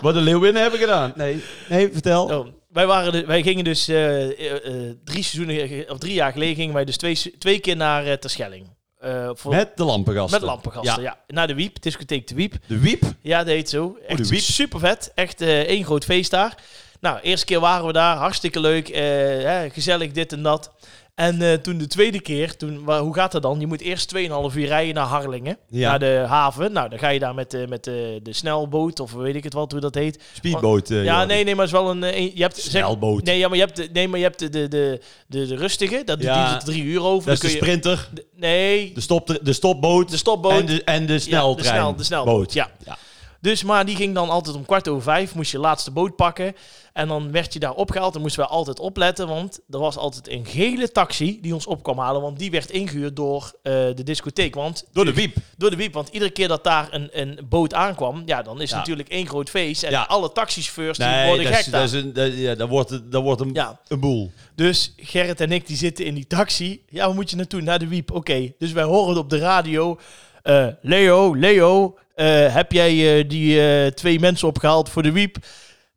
Speaker 2: wat de Leeuwinnen hebben gedaan. Nee, nee vertel.
Speaker 1: Oh, wij, waren de- wij gingen dus eh, eh, eh, drie seizoenen, ge- of drie jaar geleden, gingen wij dus twee, se- twee keer naar eh, Terschelling. Eh, voor, met,
Speaker 2: Met de lampengasten.
Speaker 1: lampengasten, ja. Naar de Wiep, discotheek de Wiep.
Speaker 2: De wiep.
Speaker 1: Ja, dat heet zo. Echt
Speaker 2: Oh, de Wiep.
Speaker 1: super vet. Echt eh, één groot feest daar. Nou, eerste keer waren we daar, hartstikke leuk, eh, hè, gezellig dit en dat. En eh, toen de tweede keer, toen, wa- hoe gaat dat dan? Je moet eerst 2,5 uur rijden naar Harlingen,
Speaker 2: Ja.
Speaker 1: naar de haven. Nou, dan ga je daar met, eh, met eh, de snelboot of weet ik het wat, hoe dat heet.
Speaker 2: Speedboot. eh,
Speaker 1: Ja,
Speaker 2: Jordi.
Speaker 1: nee, nee, maar het is wel een... eh, een- je hebt, zeg-
Speaker 2: Snelboot.
Speaker 1: nee, ja, maar je hebt, de, nee, maar je hebt de, de, de, de, de rustige. Dat doet
Speaker 2: Ja.
Speaker 1: die er drie uur over.
Speaker 2: Dat is
Speaker 1: Dan
Speaker 2: de
Speaker 1: kun je-
Speaker 2: sprinter,
Speaker 1: de- nee,
Speaker 2: de, stop, de stopboot,
Speaker 1: de stopboot.
Speaker 2: en de, en de
Speaker 1: Ja, de,
Speaker 2: sneltrein.
Speaker 1: snel, de snelboot,
Speaker 2: Boot.
Speaker 1: ja.
Speaker 2: Ja.
Speaker 1: Dus, maar die ging dan altijd om kwart over vijf, moest je laatste boot pakken. En dan werd je daar opgehaald en moesten we altijd opletten, want er was altijd een gele taxi die ons op kwam halen, want die werd ingehuurd door eh, de discotheek. Want
Speaker 2: Door de wiep.
Speaker 1: door de wiep. Want iedere keer dat daar een, een boot aankwam, ja, dan is het
Speaker 2: Ja.
Speaker 1: natuurlijk één groot feest. En
Speaker 2: Ja.
Speaker 1: alle taxichauffeurs die
Speaker 2: Nee,
Speaker 1: worden
Speaker 2: dat, is,
Speaker 1: gek daar.
Speaker 2: dat, is een, dat, ja, dat wordt, het- dat wordt een,
Speaker 1: Ja.
Speaker 2: een boel.
Speaker 1: Dus Gerrit en ik die zitten in die taxi. Ja, waar moet je naartoe? Naar de wiep. Oké, dus wij horen het op de radio. Eh, Leo, Leo, eh, heb jij eh, die eh, twee mensen opgehaald voor de wiep?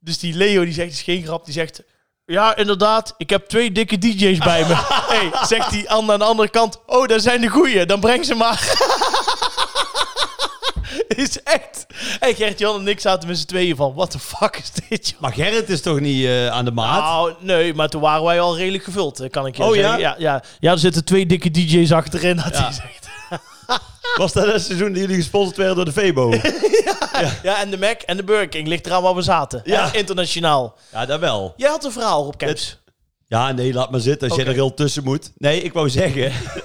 Speaker 1: Dus die Leo die zegt, is geen grap, die zegt... Ja, inderdaad, ik heb twee dikke DJ's bij me. hey, zegt die Anne aan de andere kant. Oh, daar zijn de goeie, dan breng ze maar. is echt. En Gert-Jan en ik zaten met z'n tweeën van... What the fuck is dit, joh?
Speaker 2: Maar Gerrit is toch niet eh, aan de maat?
Speaker 1: Nou, nee, maar toen waren wij al redelijk gevuld, eh, kan ik je
Speaker 2: Oh,
Speaker 1: zeggen.
Speaker 2: ja?
Speaker 1: Ja, ja. ja, er zitten twee dikke DJ's achterin, had
Speaker 2: Ja.
Speaker 1: hij gezegd.
Speaker 2: Was dat het seizoen dat jullie gesponsord werden door de Febo?
Speaker 1: Ja, en de Mac en de Burger King ligt eraan waar we zaten.
Speaker 2: Ja.
Speaker 1: Ja. internationaal.
Speaker 2: ja, dat wel.
Speaker 1: Jij had een verhaal op Caps.
Speaker 2: Ja, nee, laat maar zitten als
Speaker 1: Oké.
Speaker 2: je er heel tussen moet. Nee, ik wou zeggen,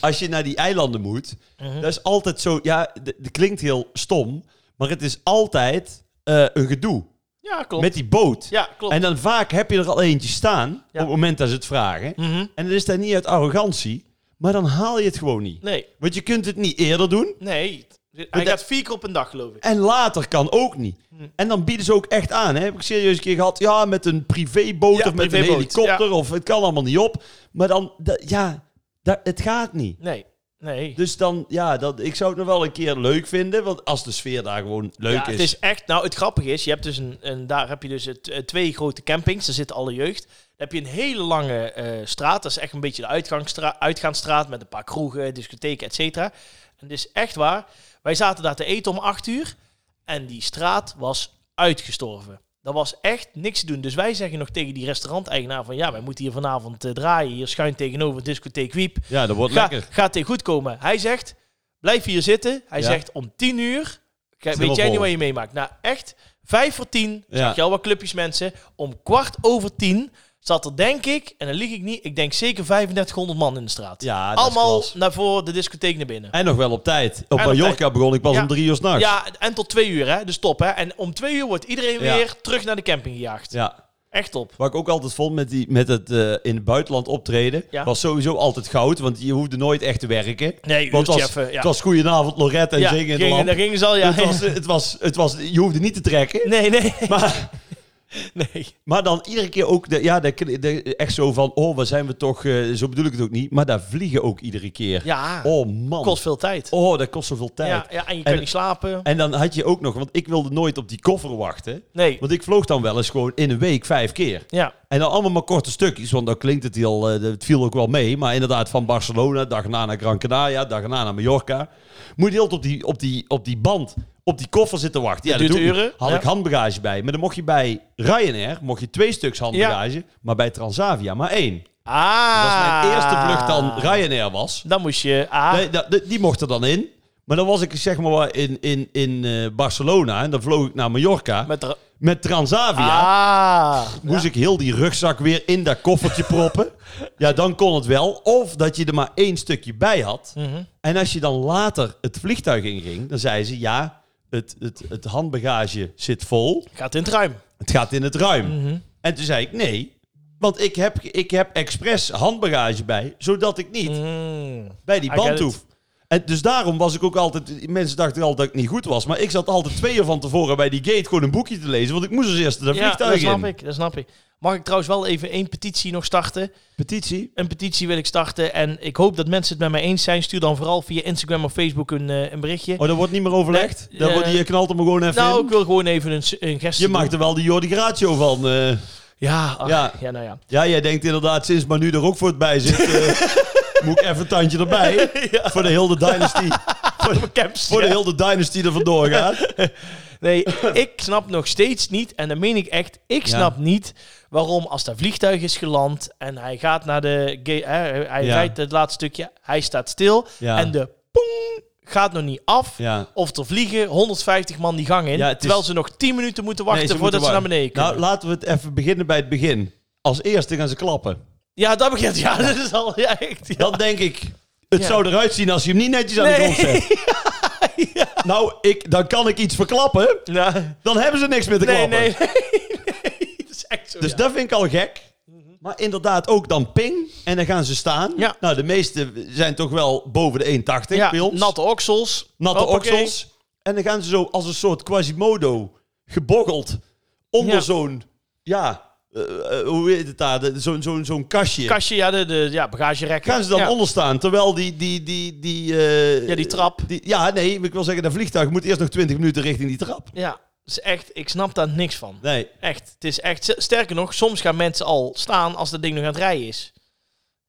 Speaker 2: als je naar die eilanden moet,
Speaker 1: Mhm.
Speaker 2: dat is altijd zo... Ja, d- dat klinkt heel stom, maar het is altijd eh, een gedoe
Speaker 1: Ja, klopt.
Speaker 2: met die boot.
Speaker 1: Ja, klopt.
Speaker 2: En dan vaak heb je er al eentje staan op
Speaker 1: Ja.
Speaker 2: het moment dat ze het vragen.
Speaker 1: Mhm.
Speaker 2: En dan is dat niet uit arrogantie, maar dan haal je het gewoon niet.
Speaker 1: Nee,
Speaker 2: Want je kunt het niet eerder doen
Speaker 1: nee. Hij
Speaker 2: Maar dat-
Speaker 1: gaat vier keer op een dag, geloof ik.
Speaker 2: en later kan ook niet.
Speaker 1: Hmm.
Speaker 2: En dan bieden ze ook echt aan. Hè? Heb ik serieus een keer gehad, ja, met een privéboot
Speaker 1: Ja,
Speaker 2: of met een
Speaker 1: privéboot,
Speaker 2: helikopter of het kan allemaal niet op. Maar dan, dat- ja, dat, het gaat niet.
Speaker 1: Nee, nee.
Speaker 2: Dus dan, ja, dat, ik zou het nog wel een keer leuk vinden. Want als de sfeer daar gewoon leuk
Speaker 1: ja,
Speaker 2: is.
Speaker 1: het is echt... Nou, het grappige is, je hebt dus een, een, daar heb je dus het, eh, twee grote campings. Daar zit alle jeugd. Dan heb je een hele lange eh, straat. Dat is echt een beetje de uitgangstra- uitgaansstraat met een paar kroegen, discotheken, et cetera. En het is echt waar. Wij zaten daar te eten om acht uur. En die straat was uitgestorven. Dat was echt niks te doen. Dus wij zeggen nog tegen die restauranteigenaar van... ja, wij moeten hier vanavond eh, draaien. Hier schuin tegenover discotheek Wiep.
Speaker 2: Ja, dat wordt
Speaker 1: Ga,
Speaker 2: lekker.
Speaker 1: gaat dit goed komen? Hij zegt, blijf hier zitten. Hij
Speaker 2: Ja.
Speaker 1: zegt, om tien uur... Kijk, weet
Speaker 2: helemaal
Speaker 1: jij niet
Speaker 2: vol.
Speaker 1: wat je meemaakt? Nou, echt, vijf voor tien
Speaker 2: Ja.
Speaker 1: zag je al wat clubjes mensen. Om kwart over tien zat er, denk ik, en dan lieg ik niet... ik denk zeker 3500 man in de straat.
Speaker 2: Ja, dat is
Speaker 1: Allemaal
Speaker 2: klas.
Speaker 1: naar voor de discotheek naar binnen.
Speaker 2: En nog wel op tijd. Op
Speaker 1: op
Speaker 2: Mallorca begon ik pas
Speaker 1: Ja.
Speaker 2: om drie uur s'nachts.
Speaker 1: Ja, en tot twee uur, hè. Dus top, hè. En om twee uur wordt iedereen
Speaker 2: Ja.
Speaker 1: weer terug naar de camping gejaagd.
Speaker 2: ja.
Speaker 1: Echt top.
Speaker 2: Wat ik ook altijd vond met, die, met het eh, in het buitenland optreden,
Speaker 1: Ja.
Speaker 2: was sowieso altijd goud, want je hoefde nooit echt te werken.
Speaker 1: Nee,
Speaker 2: want het
Speaker 1: uurtje
Speaker 2: was,
Speaker 1: even, ja.
Speaker 2: het was goedenavond Lorette en
Speaker 1: ja,
Speaker 2: zingen in de
Speaker 1: gingen-
Speaker 2: lamp.
Speaker 1: daar gingen ze al, ja.
Speaker 2: Het was, eh, het was, het was, je hoefde niet te trekken,
Speaker 1: Nee, nee,
Speaker 2: maar,
Speaker 1: nee.
Speaker 2: maar dan iedere keer ook, de, ja, de, de- echt zo van, oh, waar zijn we toch, eh, zo bedoel ik het ook niet, maar daar vliegen ook iedere keer.
Speaker 1: Ja,
Speaker 2: Oh man,
Speaker 1: kost veel tijd.
Speaker 2: oh, dat kost zoveel tijd.
Speaker 1: Ja, ja, en je kan
Speaker 2: En-
Speaker 1: niet slapen.
Speaker 2: En dan had je ook nog, want ik wilde nooit op die koffer wachten,
Speaker 1: Nee,
Speaker 2: want ik vloog dan wel eens gewoon in een week vijf keer.
Speaker 1: ja.
Speaker 2: En dan allemaal maar korte stukjes, want dan klinkt het heel, eh, het viel ook wel mee. Maar inderdaad, van Barcelona, dag na naar Gran Canaria, dag na naar Mallorca. Moet je heel op die, op, die, op die band, op die koffer zitten wachten. Ja,
Speaker 1: Dat duurt
Speaker 2: doe ik niet.
Speaker 1: uren,
Speaker 2: Had
Speaker 1: ja.
Speaker 2: ik handbagage bij. Maar dan mocht je bij Ryanair, mocht je twee stuks handbagage, maar bij Transavia maar één.
Speaker 1: Ah.
Speaker 2: Dat was mijn eerste vlucht dan Ryanair was.
Speaker 1: Dan moest je... Ah,
Speaker 2: Nee, dat- die- die mocht er dan in. Maar dan was ik zeg maar in, in, in eh, Barcelona en dan vloog ik naar Mallorca.
Speaker 1: met, de-
Speaker 2: met Transavia.
Speaker 1: Ah.
Speaker 2: Moest ik heel die rugzak weer in dat koffertje proppen. Ja, dan kon het wel. Of dat je er maar één stukje bij had.
Speaker 1: Mhm.
Speaker 2: En als je dan later het vliegtuig inging, dan zei ze... Ja, het, het, het handbagage zit vol.
Speaker 1: Gaat in het ruim.
Speaker 2: Het gaat in het ruim.
Speaker 1: Mm.
Speaker 2: En toen zei ik nee. Want ik heb, ik heb expres handbagage bij, zodat ik niet
Speaker 1: Mhm.
Speaker 2: bij die
Speaker 1: Mm. I get
Speaker 2: band
Speaker 1: it.
Speaker 2: hoef. En dus daarom was ik ook altijd... Mensen dachten altijd dat ik niet goed was. Maar ik zat altijd twee uur van tevoren bij die gate gewoon een boekje te lezen. Want ik moest als eerste dat
Speaker 1: Ja,
Speaker 2: vliegtuig
Speaker 1: dat snap
Speaker 2: in.
Speaker 1: ik, dat snap ik. Mag ik trouwens wel even één petitie nog starten?
Speaker 2: Petitie.
Speaker 1: Een petitie wil ik starten en ik hoop dat mensen het met mij eens zijn. Stuur dan vooral via Instagram of Facebook een, eh, een berichtje.
Speaker 2: Oh, dat wordt niet meer overlegd?
Speaker 1: Nee,
Speaker 2: dat
Speaker 1: eh,
Speaker 2: wordt, je knalt hem er gewoon even
Speaker 1: nou,
Speaker 2: in?
Speaker 1: ik wil gewoon even een, s- een gestie
Speaker 2: Je
Speaker 1: doen.
Speaker 2: maakt er wel die Jordi Gratio van. eh.
Speaker 1: Ja, ach, ja.
Speaker 2: Ja.
Speaker 1: nou ja.
Speaker 2: ja, jij denkt inderdaad, sinds Manu er ook voor het bij zit... eh, moet ik even een tandje erbij. Voor de hele dynasty. voor, de-
Speaker 1: Camps,
Speaker 2: voor de
Speaker 1: ja.
Speaker 2: hele dynasty er vandoor gaat.
Speaker 1: Nee, ik snap nog steeds niet, en dat meen ik echt, ik
Speaker 2: Ja.
Speaker 1: snap niet waarom als dat vliegtuig is geland en hij gaat naar de... ga- hè, hij
Speaker 2: Ja.
Speaker 1: rijdt het laatste stukje, hij staat stil
Speaker 2: Ja.
Speaker 1: en de poeng gaat nog niet af.
Speaker 2: Ja.
Speaker 1: Of er vliegen 150 man die gang in,
Speaker 2: Ja, het is-
Speaker 1: terwijl ze nog 10 minuten moeten
Speaker 2: Nee,
Speaker 1: wachten
Speaker 2: ze
Speaker 1: voordat
Speaker 2: moeten
Speaker 1: ze naar beneden
Speaker 2: wachten.
Speaker 1: kunnen.
Speaker 2: Nou, laten we het even beginnen bij het begin. Als eerste gaan ze klappen.
Speaker 1: ja, dat begint. Ja, dat is al ja, echt... ja.
Speaker 2: Dan denk ik, het
Speaker 1: Ja.
Speaker 2: zou eruit zien als je hem niet netjes aan de
Speaker 1: Nee.
Speaker 2: grond zet. Nou, ik, dan kan ik iets verklappen.
Speaker 1: Ja.
Speaker 2: Dan hebben ze niks meer te
Speaker 1: Nee,
Speaker 2: klappen.
Speaker 1: Nou, nee, nee, nee. Dat is echt zo,
Speaker 2: Dus
Speaker 1: ja.
Speaker 2: dat vind ik al gek. Maar inderdaad, ook dan ping. En dan gaan ze staan.
Speaker 1: Ja.
Speaker 2: Nou, de meeste zijn toch wel boven de 1,80
Speaker 1: ja,
Speaker 2: bij ons.
Speaker 1: natte oksels.
Speaker 2: Natte
Speaker 1: Hoppakee.
Speaker 2: oksels. En dan gaan ze zo als een soort Quasimodo geboggeld onder
Speaker 1: Ja.
Speaker 2: zo'n... Ja, eh, eh, hoe heet het daar? De- Zo'n zo'n zo'n kastje.
Speaker 1: Kastje, ja, de, de ja, bagagerek.
Speaker 2: Gaan ze dan
Speaker 1: ja.
Speaker 2: onder staan, terwijl die... die, die, die eh,
Speaker 1: Ja, die trap.
Speaker 2: die- ja, nee, ik wil zeggen, dat vliegtuig moet eerst nog 20 minuten richting die trap.
Speaker 1: Ja, is echt, ik snap daar niks van.
Speaker 2: Nee,
Speaker 1: Echt, het is echt. Sterker nog, soms gaan mensen al staan als dat ding nog aan het rijden is.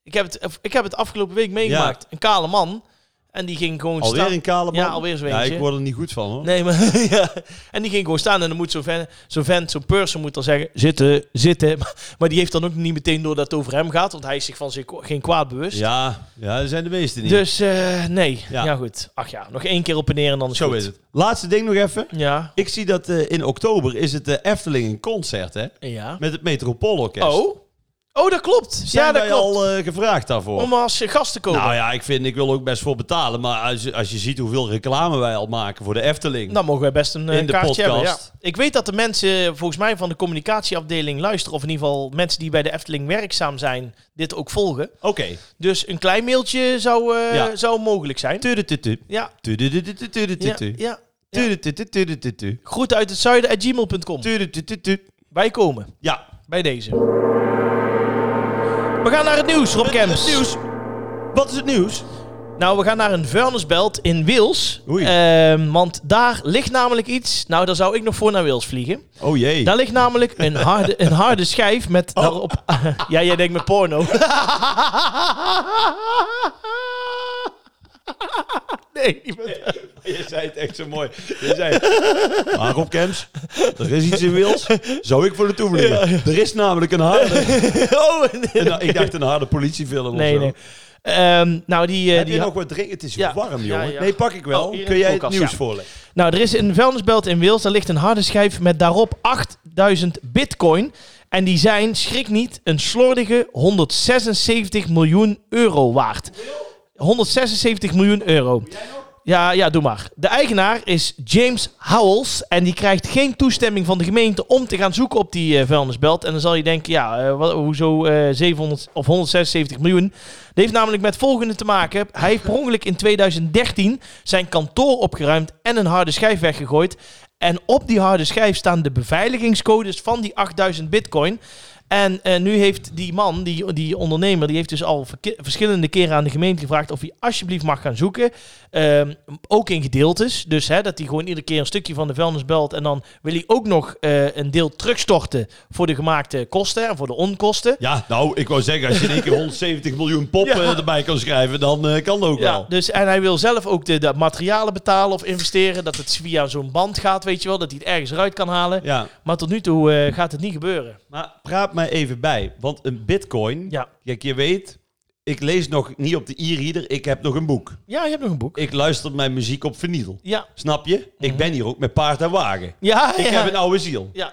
Speaker 1: Ik heb het, ik heb het afgelopen week meegemaakt. Een kale man. En die ging gewoon
Speaker 2: alweer
Speaker 1: staan.
Speaker 2: een kale man.
Speaker 1: Ja, alweer zo'n
Speaker 2: Ja,
Speaker 1: eentje.
Speaker 2: ik word er niet goed van, hoor.
Speaker 1: Nee, maar ja. En die ging gewoon staan en dan moet zo'n vent, zo'n vent, zo'n person moet dan zeggen, zitten, zitten. Maar, maar die heeft dan ook niet meteen door dat het over hem gaat, want hij is zich van zich geen kwaad bewust.
Speaker 2: Ja, ja, dat zijn de meesten niet.
Speaker 1: Dus eh, nee, ja.
Speaker 2: Ja.
Speaker 1: goed. Ach ja, nog één keer op en neer en dan is
Speaker 2: Zo
Speaker 1: goed.
Speaker 2: is het. Laatste ding nog even.
Speaker 1: Ja,
Speaker 2: Ik zie dat eh, in oktober is het de Efteling een concert, hè?
Speaker 1: ja.
Speaker 2: Met het Metropoolorkest.
Speaker 1: Oh, oh, dat klopt.
Speaker 2: Zijn
Speaker 1: ja, dat
Speaker 2: wij
Speaker 1: klopt.
Speaker 2: al eh, gevraagd daarvoor?
Speaker 1: Om als eh, gast te komen.
Speaker 2: nou ja, ik vind, ik wil ook best voor betalen. Maar als, je- als je ziet hoeveel reclame wij al maken voor de Efteling.
Speaker 1: Dan mogen wij best een eh,
Speaker 2: In de
Speaker 1: kaartje hebben. Ja.
Speaker 2: podcast.
Speaker 1: Ik weet dat de mensen eh, volgens mij van de communicatieafdeling luisteren. Of in ieder geval mensen die bij de Efteling werkzaam zijn, dit ook volgen.
Speaker 2: Oké.
Speaker 1: Dus een klein mailtje zou, eh,
Speaker 2: Ja.
Speaker 1: zou mogelijk zijn.
Speaker 2: Tudututu.
Speaker 1: Ja,
Speaker 2: Tudututu.
Speaker 1: ja,
Speaker 2: Tudututu.
Speaker 1: ja.
Speaker 2: Tudututu. Tudututu.
Speaker 1: Groet uit het zuiden at gmail.com.
Speaker 2: Tudututu.
Speaker 1: Wij komen
Speaker 2: Ja.
Speaker 1: bij deze. We gaan naar het nieuws, Rob Kemps.
Speaker 2: Het nieuws. Wat is het nieuws?
Speaker 1: Nou, we gaan naar een vuilnisbelt in Wales.
Speaker 2: Oei.
Speaker 1: Ehm, want daar ligt namelijk iets. Nou, daar zou ik nog voor naar Wales vliegen.
Speaker 2: Oh jee.
Speaker 1: Daar ligt namelijk een harde, een harde schijf met
Speaker 2: Oh.
Speaker 1: daarop... ja, jij denkt met porno. nee, niet met...
Speaker 2: Je zei het echt zo mooi. Je zei, maar Rob Kems, er is iets in Wils. Zou ik voor de toevliegen. Er is namelijk een harde...
Speaker 1: Oh, nee.
Speaker 2: Nou, ik dacht een harde politiefilm
Speaker 1: Nee,
Speaker 2: of zo.
Speaker 1: nee. Ehm, nou, die, eh,
Speaker 2: Heb
Speaker 1: die
Speaker 2: je
Speaker 1: ha-
Speaker 2: nog wat drinken? Het is
Speaker 1: Ja.
Speaker 2: warm,
Speaker 1: Ja,
Speaker 2: jongen.
Speaker 1: ja.
Speaker 2: Nee, pak ik wel.
Speaker 1: Oh, hier in
Speaker 2: Kun
Speaker 1: de
Speaker 2: jij het
Speaker 1: koelkast,
Speaker 2: nieuws
Speaker 1: ja.
Speaker 2: voorleggen?
Speaker 1: nou, er is een vuilnisbelt in Wales. Daar ligt een harde schijf met daarop 8000 bitcoin. En die zijn, schrik niet, een slordige 176 miljoen euro waard. 176 miljoen euro. Ja, ja, doe maar. De eigenaar is James Howells. En die krijgt geen toestemming van de gemeente om te gaan zoeken op die eh, vuilnisbelt. En dan zal je denken, ja, eh, wa- hoezo eh 700 of 176 miljoen? Dat heeft namelijk met volgende te maken. Hij heeft per ongeluk in 2013 zijn kantoor opgeruimd en een harde schijf weggegooid. En op die harde schijf staan de beveiligingscodes van die 8000 bitcoin. En eh, nu heeft die man, die, die ondernemer, die heeft dus al verke- verschillende keren aan de gemeente gevraagd of hij alsjeblieft mag gaan zoeken. Ehm, ook in gedeeltes. Dus hè, dat hij gewoon iedere keer een stukje van de vuilnis belt. En dan wil hij ook nog eh, een deel terugstorten voor de gemaakte kosten en voor de onkosten.
Speaker 2: Ja, nou, ik wou zeggen, als je in één keer 170 miljoen pop
Speaker 1: Ja.
Speaker 2: eh, erbij kan schrijven, dan eh, kan dat ook
Speaker 1: Ja,
Speaker 2: wel.
Speaker 1: dus, en hij wil zelf ook de, de materialen betalen of investeren. Dat het via zo'n band gaat, weet je wel. Dat hij het ergens eruit kan halen.
Speaker 2: Ja,
Speaker 1: Maar tot nu toe eh, gaat het niet gebeuren.
Speaker 2: maar praat mij even bij. Want een bitcoin...
Speaker 1: Ja.
Speaker 2: Kijk, je weet, ik lees nog niet op de e-reader. Ik heb nog een boek.
Speaker 1: ja, je hebt nog een boek.
Speaker 2: Ik luister mijn muziek op vinyl.
Speaker 1: Ja.
Speaker 2: Snap je? Ik ben hier ook met paard en wagen.
Speaker 1: Ja,
Speaker 2: Ik
Speaker 1: Mhm. ja.
Speaker 2: heb een oude ziel.
Speaker 1: ja.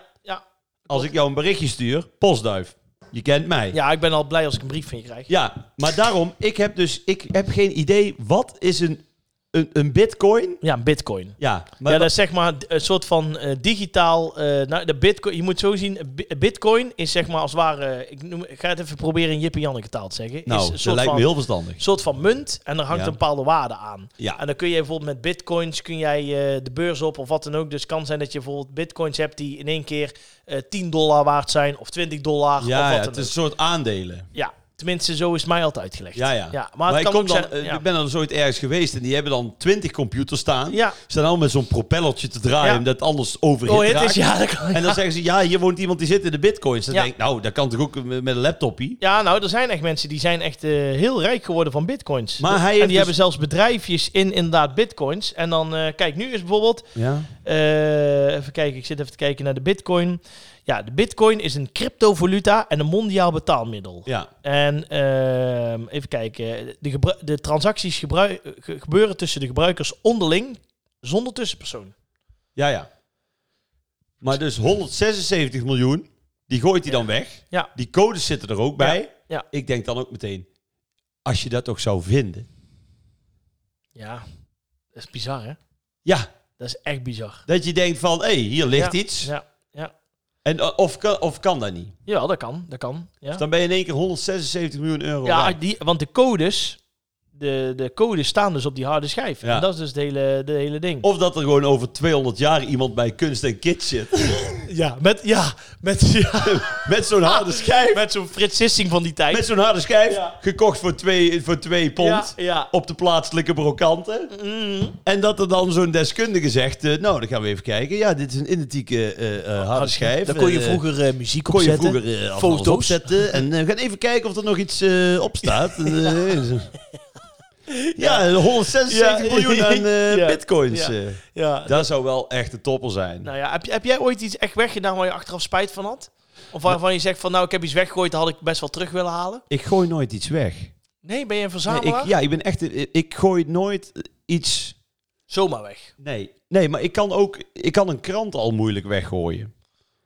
Speaker 2: Als ik jou een berichtje stuur, postduif. Je kent mij.
Speaker 1: Ja, ik ben al blij als ik een brief van je krijg.
Speaker 2: Ja, maar daarom, ik heb dus ik heb geen idee wat is een, een, een bitcoin.
Speaker 1: Ja, een bitcoin.
Speaker 2: Ja, maar
Speaker 1: ja, dat is zeg maar een soort van eh, digitaal. eh, nou, de bitcoin, je moet zo zien: eh, bi- bitcoin is zeg maar als het ware. eh, ik, noem, ik ga het even proberen in Jip en Janneke taal te zeggen.
Speaker 2: nou,
Speaker 1: is een
Speaker 2: dat
Speaker 1: soort
Speaker 2: lijkt
Speaker 1: van,
Speaker 2: me heel verstandig.
Speaker 1: soort van munt en er hangt
Speaker 2: Ja.
Speaker 1: een bepaalde waarde aan.
Speaker 2: Ja.
Speaker 1: En dan kun je bijvoorbeeld met bitcoins kun jij, eh, de beurs op of wat dan ook. Dus het kan zijn dat je bijvoorbeeld bitcoins hebt die in één keer eh 10 dollar waard zijn of 20 dollar of
Speaker 2: Ja,
Speaker 1: wat
Speaker 2: ja,
Speaker 1: dan
Speaker 2: het is een
Speaker 1: ook.
Speaker 2: soort aandelen.
Speaker 1: Ja, tenminste zo is het mij altijd uitgelegd.
Speaker 2: Ja, ja.
Speaker 1: ja maar,
Speaker 2: maar
Speaker 1: het
Speaker 2: ik,
Speaker 1: kan
Speaker 2: kom
Speaker 1: ook
Speaker 2: dan,
Speaker 1: zijn...
Speaker 2: eh,
Speaker 1: ja.
Speaker 2: ik ben dan ooit ergens geweest en die hebben dan twintig computers staan.
Speaker 1: Ja.
Speaker 2: Staan al met zo'n propellertje te draaien
Speaker 1: Ja.
Speaker 2: omdat het anders overhit
Speaker 1: Oh, het
Speaker 2: raakt.
Speaker 1: is ja, dat kan-
Speaker 2: En dan zeggen ze, ja, hier woont iemand die zit in de bitcoins. Dan
Speaker 1: Ja.
Speaker 2: denk ik, nou, dat kan toch ook met met een laptopje?
Speaker 1: Ja, nou, er zijn echt mensen die zijn echt eh, heel rijk geworden van bitcoins.
Speaker 2: Maar hij
Speaker 1: en die
Speaker 2: heeft dus-
Speaker 1: hebben zelfs bedrijfjes in inderdaad bitcoins. En dan, eh, kijk, nu is bijvoorbeeld...
Speaker 2: Ja.
Speaker 1: eh, even kijken, ik zit even te kijken naar de bitcoin. Ja, de bitcoin is een cryptovaluta en een mondiaal betaalmiddel.
Speaker 2: Ja.
Speaker 1: En ehm, even kijken, de, gebru- de transacties gebru- ge- gebeuren tussen de gebruikers onderling, zonder tussenpersoon.
Speaker 2: Ja, ja. Maar dus 176 miljoen, die gooit hij dan weg.
Speaker 1: Ja.
Speaker 2: Die codes zitten er ook bij.
Speaker 1: ja.
Speaker 2: Ik denk dan ook meteen, als je dat toch zou vinden.
Speaker 1: Ja, dat is bizar, hè?
Speaker 2: Ja,
Speaker 1: Dat is echt bizar.
Speaker 2: dat je denkt van, hé, hey, hier ligt
Speaker 1: Ja,
Speaker 2: iets.
Speaker 1: Ja, ja.
Speaker 2: En, eh, of, kan, of kan dat niet?
Speaker 1: Jawel, dat kan, dat kan. Ja.
Speaker 2: Dus dan ben je in één keer 176 miljoen euro
Speaker 1: Ja,
Speaker 2: rijk.
Speaker 1: die, want de codes, de, de codes staan dus op die harde schijf.
Speaker 2: Ja.
Speaker 1: En dat is dus het hele, de hele ding.
Speaker 2: Of dat er gewoon over 200 jaar iemand bij kunst en kids zit.
Speaker 1: ja, met, ja, met,
Speaker 2: Met zo'n harde schijf.
Speaker 1: met zo'n Frits Sissing van die tijd.
Speaker 2: Met zo'n harde schijf.
Speaker 1: Ja.
Speaker 2: Gekocht voor 2 voor twee pond.
Speaker 1: ja, ja.
Speaker 2: Op de plaatselijke brokanten.
Speaker 1: Mm.
Speaker 2: En dat er dan zo'n deskundige zegt... eh, nou, dan gaan we even kijken. Ja, dit is een identieke eh, eh, harde schijf.
Speaker 1: Daar kon je
Speaker 2: Eh,
Speaker 1: vroeger eh, muziek op
Speaker 2: kon je
Speaker 1: zetten.
Speaker 2: vroeger eh, van alles
Speaker 1: foto's.
Speaker 2: opzetten. En eh, we gaan even kijken of er nog iets eh, op staat. Eh, zo. ja, 176
Speaker 1: Ja.
Speaker 2: miljoen aan eh,
Speaker 1: Ja.
Speaker 2: bitcoins.
Speaker 1: Ja.
Speaker 2: eh.
Speaker 1: Ja.
Speaker 2: Dat zou wel echt een topper zijn.
Speaker 1: Nou ja, heb, je- heb jij ooit iets echt weggedaan waar je achteraf spijt van had? Of waarvan je zegt van nou, ik heb iets weggegooid, dat had ik best wel terug willen halen?
Speaker 2: Ik gooi nooit iets weg.
Speaker 1: Nee, ben je een
Speaker 2: Nee,
Speaker 1: verzamelaar?
Speaker 2: ik, ja, ik ben echt. een- Ik gooi nooit iets.
Speaker 1: Zomaar weg.
Speaker 2: Nee. Nee, maar ik kan ook. Ik kan een krant al moeilijk weggooien.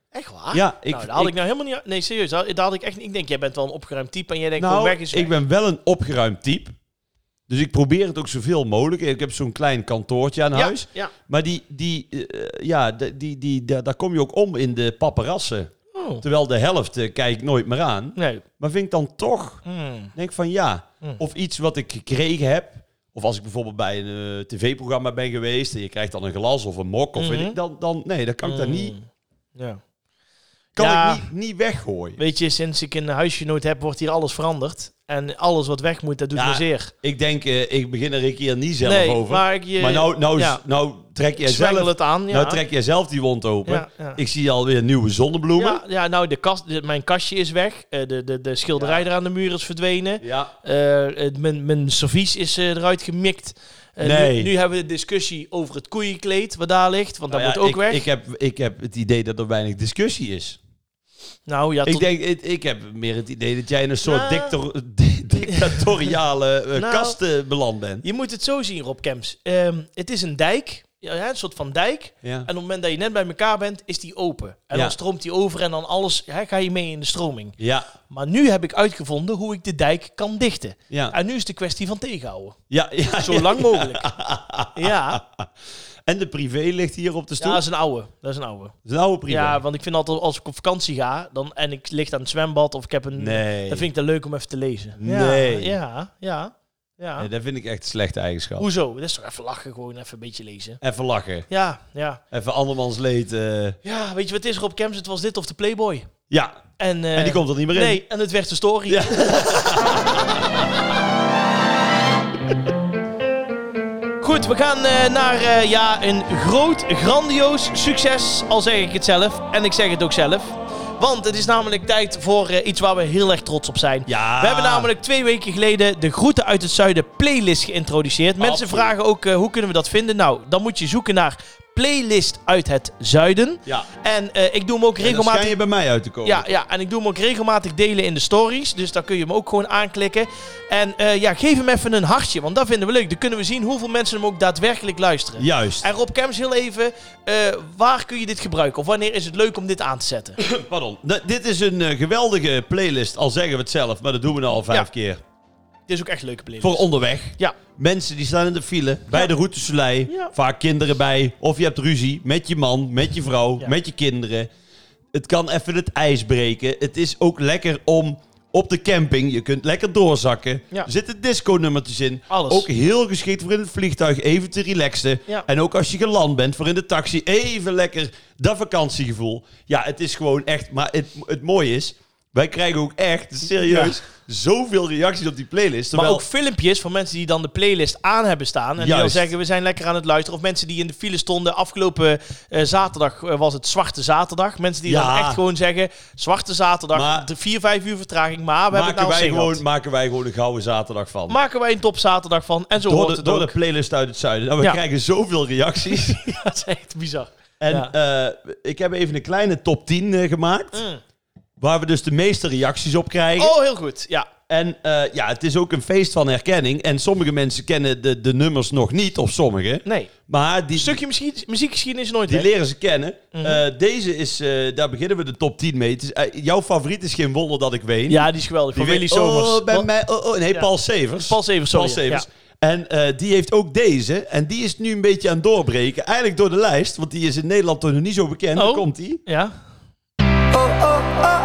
Speaker 1: Echt waar?
Speaker 2: ja, ik.
Speaker 1: nou, daar had ik,
Speaker 2: ik-
Speaker 1: nou helemaal niet... Nee, serieus. Daar, daar had ik echt... Ik denk, jij bent wel een opgeruimd type en jij denkt,
Speaker 2: nou,
Speaker 1: gewoon weg is weg.
Speaker 2: ik ben wel een opgeruimd type. Dus ik probeer het ook zoveel mogelijk. Ik heb zo'n klein kantoortje aan
Speaker 1: ja,
Speaker 2: huis.
Speaker 1: ja.
Speaker 2: Maar die, die, eh, ja, die, die, die, daar, daar kom je ook om in de paparassen.
Speaker 1: Oh.
Speaker 2: Terwijl de helft eh, kijk ik nooit meer aan.
Speaker 1: Nee.
Speaker 2: Maar vind ik dan toch
Speaker 1: Hmm.
Speaker 2: denk van ja.
Speaker 1: Hmm.
Speaker 2: Of iets wat ik gekregen heb. Of als ik bijvoorbeeld bij een eh, tv-programma ben geweest en je krijgt dan een glas of een mok of
Speaker 1: Mhm.
Speaker 2: weet ik, dan, dan nee, dan kan ik dat niet,
Speaker 1: Mm. Ja.
Speaker 2: kan
Speaker 1: Ja.
Speaker 2: ik niet, niet weggooien.
Speaker 1: Weet je, sinds ik een huisgenoot heb, wordt hier alles veranderd. En alles wat weg moet, dat doet
Speaker 2: Ja,
Speaker 1: me zeer.
Speaker 2: Ik denk, eh, ik begin er een keer niet zelf
Speaker 1: nee,
Speaker 2: over. Maar,
Speaker 1: maar ik je,
Speaker 2: nou, nou,
Speaker 1: ja,
Speaker 2: nou trek jij
Speaker 1: ik zwengel
Speaker 2: zelf,
Speaker 1: het aan. Ja.
Speaker 2: nou trek jij zelf die wond open.
Speaker 1: ja, ja.
Speaker 2: Ik zie alweer nieuwe zonnebloemen.
Speaker 1: Ja, ja, nou, de kast, de- mijn kastje is weg. Eh, de, de, de schilderij
Speaker 2: Ja.
Speaker 1: er aan de muur is verdwenen.
Speaker 2: Ja.
Speaker 1: Eh, het- mijn, mijn servies is eh, eruit gemikt. Eh,
Speaker 2: Nee.
Speaker 1: nu, nu hebben we de discussie over het koeienkleed, wat daar ligt. Want dat
Speaker 2: Nou ja,
Speaker 1: moet ook
Speaker 2: ik,
Speaker 1: weg.
Speaker 2: Ik heb, ik heb het idee dat er weinig discussie is.
Speaker 1: nou ja,
Speaker 2: Ik
Speaker 1: tot-
Speaker 2: denk, ik, ik heb meer het idee dat jij in een soort
Speaker 1: Nou.
Speaker 2: dictor- di- dictatoriale eh,
Speaker 1: Nou.
Speaker 2: kast eh, beland bent.
Speaker 1: je moet het zo zien, Rob Kemps. Ehm, het is een dijk, ja, ja, een soort van dijk.
Speaker 2: Ja.
Speaker 1: En op het moment dat je net bij elkaar bent, is die open. En
Speaker 2: Ja.
Speaker 1: dan stroomt die over en dan alles, hè, ga je mee in de stroming.
Speaker 2: Ja,
Speaker 1: Maar nu heb ik uitgevonden hoe ik de dijk kan dichten.
Speaker 2: ja,
Speaker 1: En nu is de kwestie van tegenhouden.
Speaker 2: ja, ja.
Speaker 1: Zo lang mogelijk. Ja,
Speaker 2: En de privé ligt hier op de
Speaker 1: ja
Speaker 2: stoel.
Speaker 1: dat is een oude. Dat is een oude.
Speaker 2: Dat is een oude privé.
Speaker 1: Ja, want ik vind altijd als ik op vakantie ga dan, en ik ligt aan het zwembad of ik heb een...
Speaker 2: nee.
Speaker 1: Dan vind ik dat leuk om even te lezen.
Speaker 2: Nee.
Speaker 1: Ja, ja, ja. ja.
Speaker 2: Nee, dat vind ik echt een slechte eigenschap.
Speaker 1: Hoezo? Dat is toch even lachen, gewoon even een beetje lezen.
Speaker 2: Even lachen.
Speaker 1: Ja, ja.
Speaker 2: Even andermans leed. eh.
Speaker 1: Ja, weet je wat het is, Rob Kemps? Het was dit of de Playboy.
Speaker 2: Ja,
Speaker 1: En, eh,
Speaker 2: en die komt er niet meer in.
Speaker 1: Nee, en het werd de story.
Speaker 2: Ja.
Speaker 1: Goed, we gaan eh, naar eh, ja, een groot, grandioos succes, al zeg ik het zelf. En ik zeg het ook zelf. Want het is namelijk tijd voor eh, iets waar we heel erg trots op zijn.
Speaker 2: Ja.
Speaker 1: We hebben namelijk twee weken geleden de Groeten uit het Zuiden playlist geïntroduceerd. Mensen
Speaker 2: Absoluut.
Speaker 1: vragen ook eh, hoe kunnen we dat vinden. Nou, dan moet je zoeken naar playlist uit het zuiden.
Speaker 2: Ja.
Speaker 1: En eh, ik doe hem ook
Speaker 2: En dan
Speaker 1: regelmatig...
Speaker 2: schijn je bij mij uit te komen.
Speaker 1: Ja, ja, en ik doe hem ook regelmatig delen in de stories. Dus daar kun je hem ook gewoon aanklikken. En eh, ja, geef hem even een hartje, want dat vinden we leuk. Dan kunnen we zien hoeveel mensen hem ook daadwerkelijk luisteren.
Speaker 2: Juist.
Speaker 1: En Rob Kems, heel even, eh, waar kun je dit gebruiken? Of wanneer is het leuk om dit aan te zetten?
Speaker 2: Pardon. D- dit is een eh, geweldige playlist, al zeggen we het zelf, maar dat doen we nou al vijf
Speaker 1: Ja.
Speaker 2: keer.
Speaker 1: dit is ook echt een leuke playlist.
Speaker 2: Voor onderweg.
Speaker 1: ja,
Speaker 2: Mensen die staan in de file, bij
Speaker 1: Ja.
Speaker 2: de routesoleil,
Speaker 1: Ja.
Speaker 2: vaak kinderen bij. Of je hebt ruzie met je man, met je vrouw,
Speaker 1: Ja.
Speaker 2: met je kinderen. Het kan even het ijs breken. Het is ook lekker om op de camping, je kunt lekker doorzakken.
Speaker 1: Ja.
Speaker 2: Er zitten disco-nummertjes in.
Speaker 1: Alles.
Speaker 2: Ook heel geschikt voor in het vliegtuig, even te relaxen.
Speaker 1: Ja.
Speaker 2: En ook als je geland bent, voor in de taxi, even lekker dat vakantiegevoel. Ja, het is gewoon echt, maar het, het mooie is... Wij krijgen ook echt, serieus, zoveel reacties op die playlist.
Speaker 1: maar
Speaker 2: terwijl-
Speaker 1: ook filmpjes van mensen die dan de playlist aan hebben staan. En die dan
Speaker 2: Juist.
Speaker 1: zeggen, we zijn lekker aan het luisteren. Of mensen die in de file stonden. Afgelopen eh, zaterdag eh, was het Zwarte Zaterdag. Mensen die
Speaker 2: Ja.
Speaker 1: dan echt gewoon zeggen, Zwarte Zaterdag,
Speaker 2: Maar-
Speaker 1: de 4, 5 uur vertraging. Maar we hebben het
Speaker 2: maken,
Speaker 1: nou
Speaker 2: wij
Speaker 1: zin gehad.
Speaker 2: gewoon, maken wij gewoon een gouden zaterdag van.
Speaker 1: maken wij een topzaterdag van. En zo
Speaker 2: door
Speaker 1: hoort
Speaker 2: de,
Speaker 1: het
Speaker 2: door
Speaker 1: ook.
Speaker 2: de playlist uit het zuiden. Nou, we
Speaker 1: Ja.
Speaker 2: krijgen zoveel reacties.
Speaker 1: Ja, dat is echt bizar.
Speaker 2: en
Speaker 1: Ja.
Speaker 2: eh, ik heb even een kleine top 10 eh, gemaakt.
Speaker 1: Mm.
Speaker 2: Waar we dus de meeste reacties op krijgen.
Speaker 1: Oh, heel goed. Ja.
Speaker 2: En eh, ja, het is ook een feest van herkenning. En sommige mensen kennen de, de nummers nog niet, of sommige.
Speaker 1: Nee.
Speaker 2: Maar die,
Speaker 1: Een stukje Mhm. muzie- muziekgeschiedenis is nooit
Speaker 2: die
Speaker 1: weg.
Speaker 2: leren ze kennen. Eh, deze is, eh, daar beginnen we de top 10 mee. Het is, eh, jouw favoriet is geen wonder dat ik weet.
Speaker 1: Ja, die is geweldig.
Speaker 2: Die
Speaker 1: van Willy
Speaker 2: weet-
Speaker 1: Somers.
Speaker 2: Oh, bij
Speaker 1: Wat-
Speaker 2: mij, oh, oh, nee,
Speaker 1: Ja.
Speaker 2: Paul Severs.
Speaker 1: Paul Severs, sorry.
Speaker 2: Paul Severs. En eh, die heeft ook deze. En die is nu een beetje aan het doorbreken. Eigenlijk door de lijst. Want die is in Nederland toch nog niet zo bekend.
Speaker 1: Oh.
Speaker 2: Daar komt die.
Speaker 1: Ja. ja.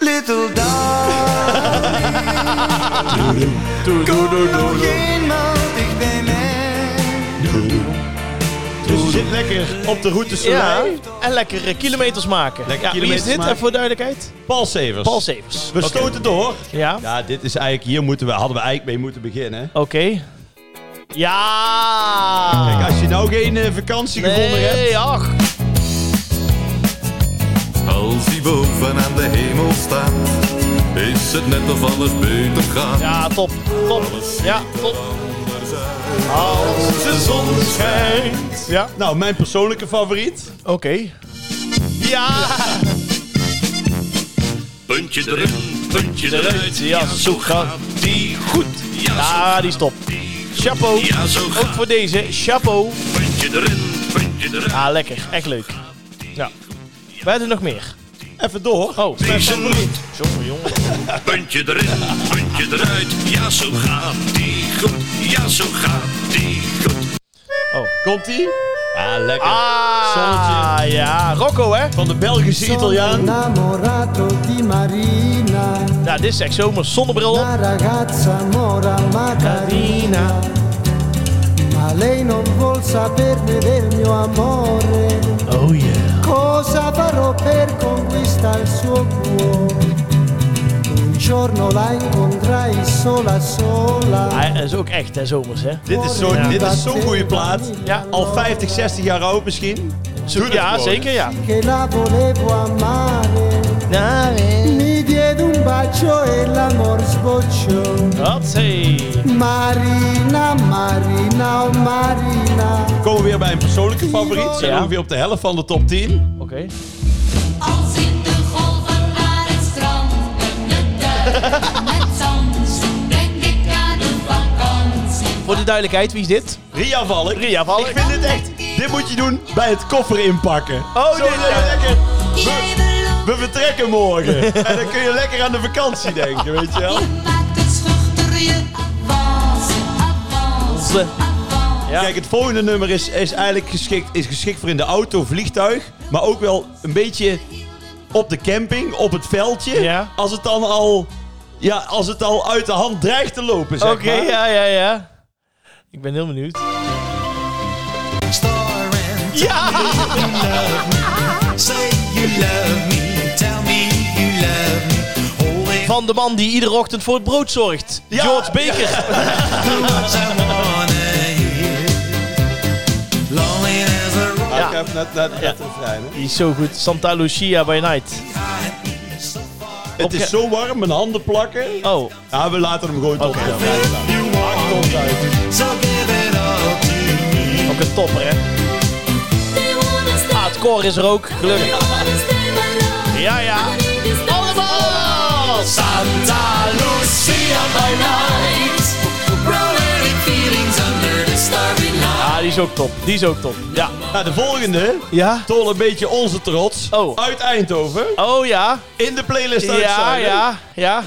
Speaker 3: Little
Speaker 1: Doe, doe, doe, doe.
Speaker 3: nog eenmaal dicht bij mij.
Speaker 2: Dus je zit lekker op de route zo
Speaker 1: Ja, en lekker eh, kilometers maken.
Speaker 2: Lekker
Speaker 1: ja, wie is
Speaker 2: kilometers
Speaker 1: dit?
Speaker 2: maken.
Speaker 1: En voor duidelijkheid?
Speaker 2: Paul Severs.
Speaker 1: Paul Severs.
Speaker 2: we stoten door.
Speaker 1: Ja,
Speaker 2: Ja, dit is eigenlijk... Hier moeten we, hadden we eigenlijk mee moeten beginnen.
Speaker 1: oké. Ja!
Speaker 2: Kijk, als je nou geen eh, vakantie gevonden hebt...
Speaker 1: nee, ach.
Speaker 4: Als die boven aan de hemel staat, is het net of alles beter gaat.
Speaker 1: Ja, top. Top. Ja, top.
Speaker 4: Als de zon schijnt.
Speaker 1: Ja.
Speaker 2: Nou, mijn persoonlijke favoriet.
Speaker 1: Oké. Ja!
Speaker 4: Puntje erin, puntje eruit.
Speaker 1: Ja, zo gaat die goed. Ja, die is top. Chapeau.
Speaker 4: Ja, zo
Speaker 1: Ook
Speaker 4: gaat
Speaker 1: voor deze. Chapeau.
Speaker 4: puntje erin, puntje eruit.
Speaker 1: Ah, lekker. Echt leuk. Ja. We hebben nog meer.
Speaker 2: Even door.
Speaker 1: Oh,
Speaker 4: Wees een moed,
Speaker 1: jongen, jongen.
Speaker 4: Ah, puntje erin, puntje eruit. Ja, zo gaat die goed. Ja, zo gaat die goed.
Speaker 2: Komt die? Ah, lekker.
Speaker 1: Ah, ja. Rocco, hè?
Speaker 2: Van de Belgische Italiaan.
Speaker 3: Innamorato di Marina,
Speaker 1: Nou, dit is echt zomer. Zonnebril op.
Speaker 3: la ragazza mora Macarina. Ma lei non vuol saperne del mio amore.
Speaker 1: Oh, yeah.
Speaker 3: Cosa farò per conquistare il suo cuore? Un giorno la incontrai sola sola.
Speaker 1: Hij is ook echt, hè, zomers, hè?
Speaker 2: Dit is zo'n
Speaker 1: Ja.
Speaker 2: dit is zo'n goede plaat.
Speaker 1: Ja.
Speaker 2: Al 50, 60 jaar oud misschien. Doe het
Speaker 1: Ja,
Speaker 2: gewoon.
Speaker 1: zeker, ja.
Speaker 3: che la volevo amare. Mi diede un bacio e l'amor sbocciò.
Speaker 1: Wat, hey.
Speaker 3: Marina, Marina, oh Marina.
Speaker 2: Komen we weer bij een persoonlijke favoriet. Zijn
Speaker 1: Ja.
Speaker 2: we ongeveer op de helft van de top 10.
Speaker 1: Oké.
Speaker 5: Als in de golven naar het strand en de duik met zand, denk ik aan een vakantie.
Speaker 1: Voor de duidelijkheid, wie is dit?
Speaker 2: Ria Valk.
Speaker 1: Ria Valk.
Speaker 2: Ik vind dit echt... Dit moet je doen bij het koffer inpakken.
Speaker 1: Oh, dit-
Speaker 2: dit lekker.
Speaker 5: Jij belooft,
Speaker 2: We vertrekken morgen. en dan kun je lekker aan de vakantie denken, weet je wel.
Speaker 5: je maakt het schuchter, je avance, avance, avance.
Speaker 1: Ja.
Speaker 2: Kijk, het volgende nummer is, is eigenlijk geschikt, is geschikt voor in de auto, vliegtuig. Maar ook wel een beetje op de camping, op het veldje.
Speaker 1: Ja.
Speaker 2: Als het dan al... Ja, als het al uit de hand dreigt te lopen, zeg
Speaker 1: Oké,
Speaker 2: maar.
Speaker 1: ja, ja, ja. Ik ben heel benieuwd. Ja! Van de man die iedere ochtend voor het brood zorgt.
Speaker 2: Ja.
Speaker 1: George Baker.
Speaker 2: Nou,
Speaker 1: Ja.
Speaker 2: ik ga even naar, naar, naar het refrein, hè.
Speaker 1: Die is zo goed. Santa Lucia by night.
Speaker 2: Het is zo warm, mijn handen plakken.
Speaker 1: Oh,
Speaker 2: Ja, we laten hem gewoon tot
Speaker 1: Oké.
Speaker 2: de- Maakt ons uit.
Speaker 1: oké. ook een topper, hè? Ah, het koor is er ook, gelukkig. Ja, ja.
Speaker 5: dus
Speaker 1: Allemaal!
Speaker 6: Santa Lucia by night. Romantic feelings under the starry night.
Speaker 1: Ah, die is ook top. Die is ook top. Ja.
Speaker 2: Nou, de volgende.
Speaker 1: Ja?
Speaker 2: Tol een beetje onze trots.
Speaker 1: Oh.
Speaker 2: Uit Eindhoven.
Speaker 1: Oh ja.
Speaker 2: In de playlist
Speaker 1: Ja,
Speaker 2: uitzenden.
Speaker 1: ja, ja.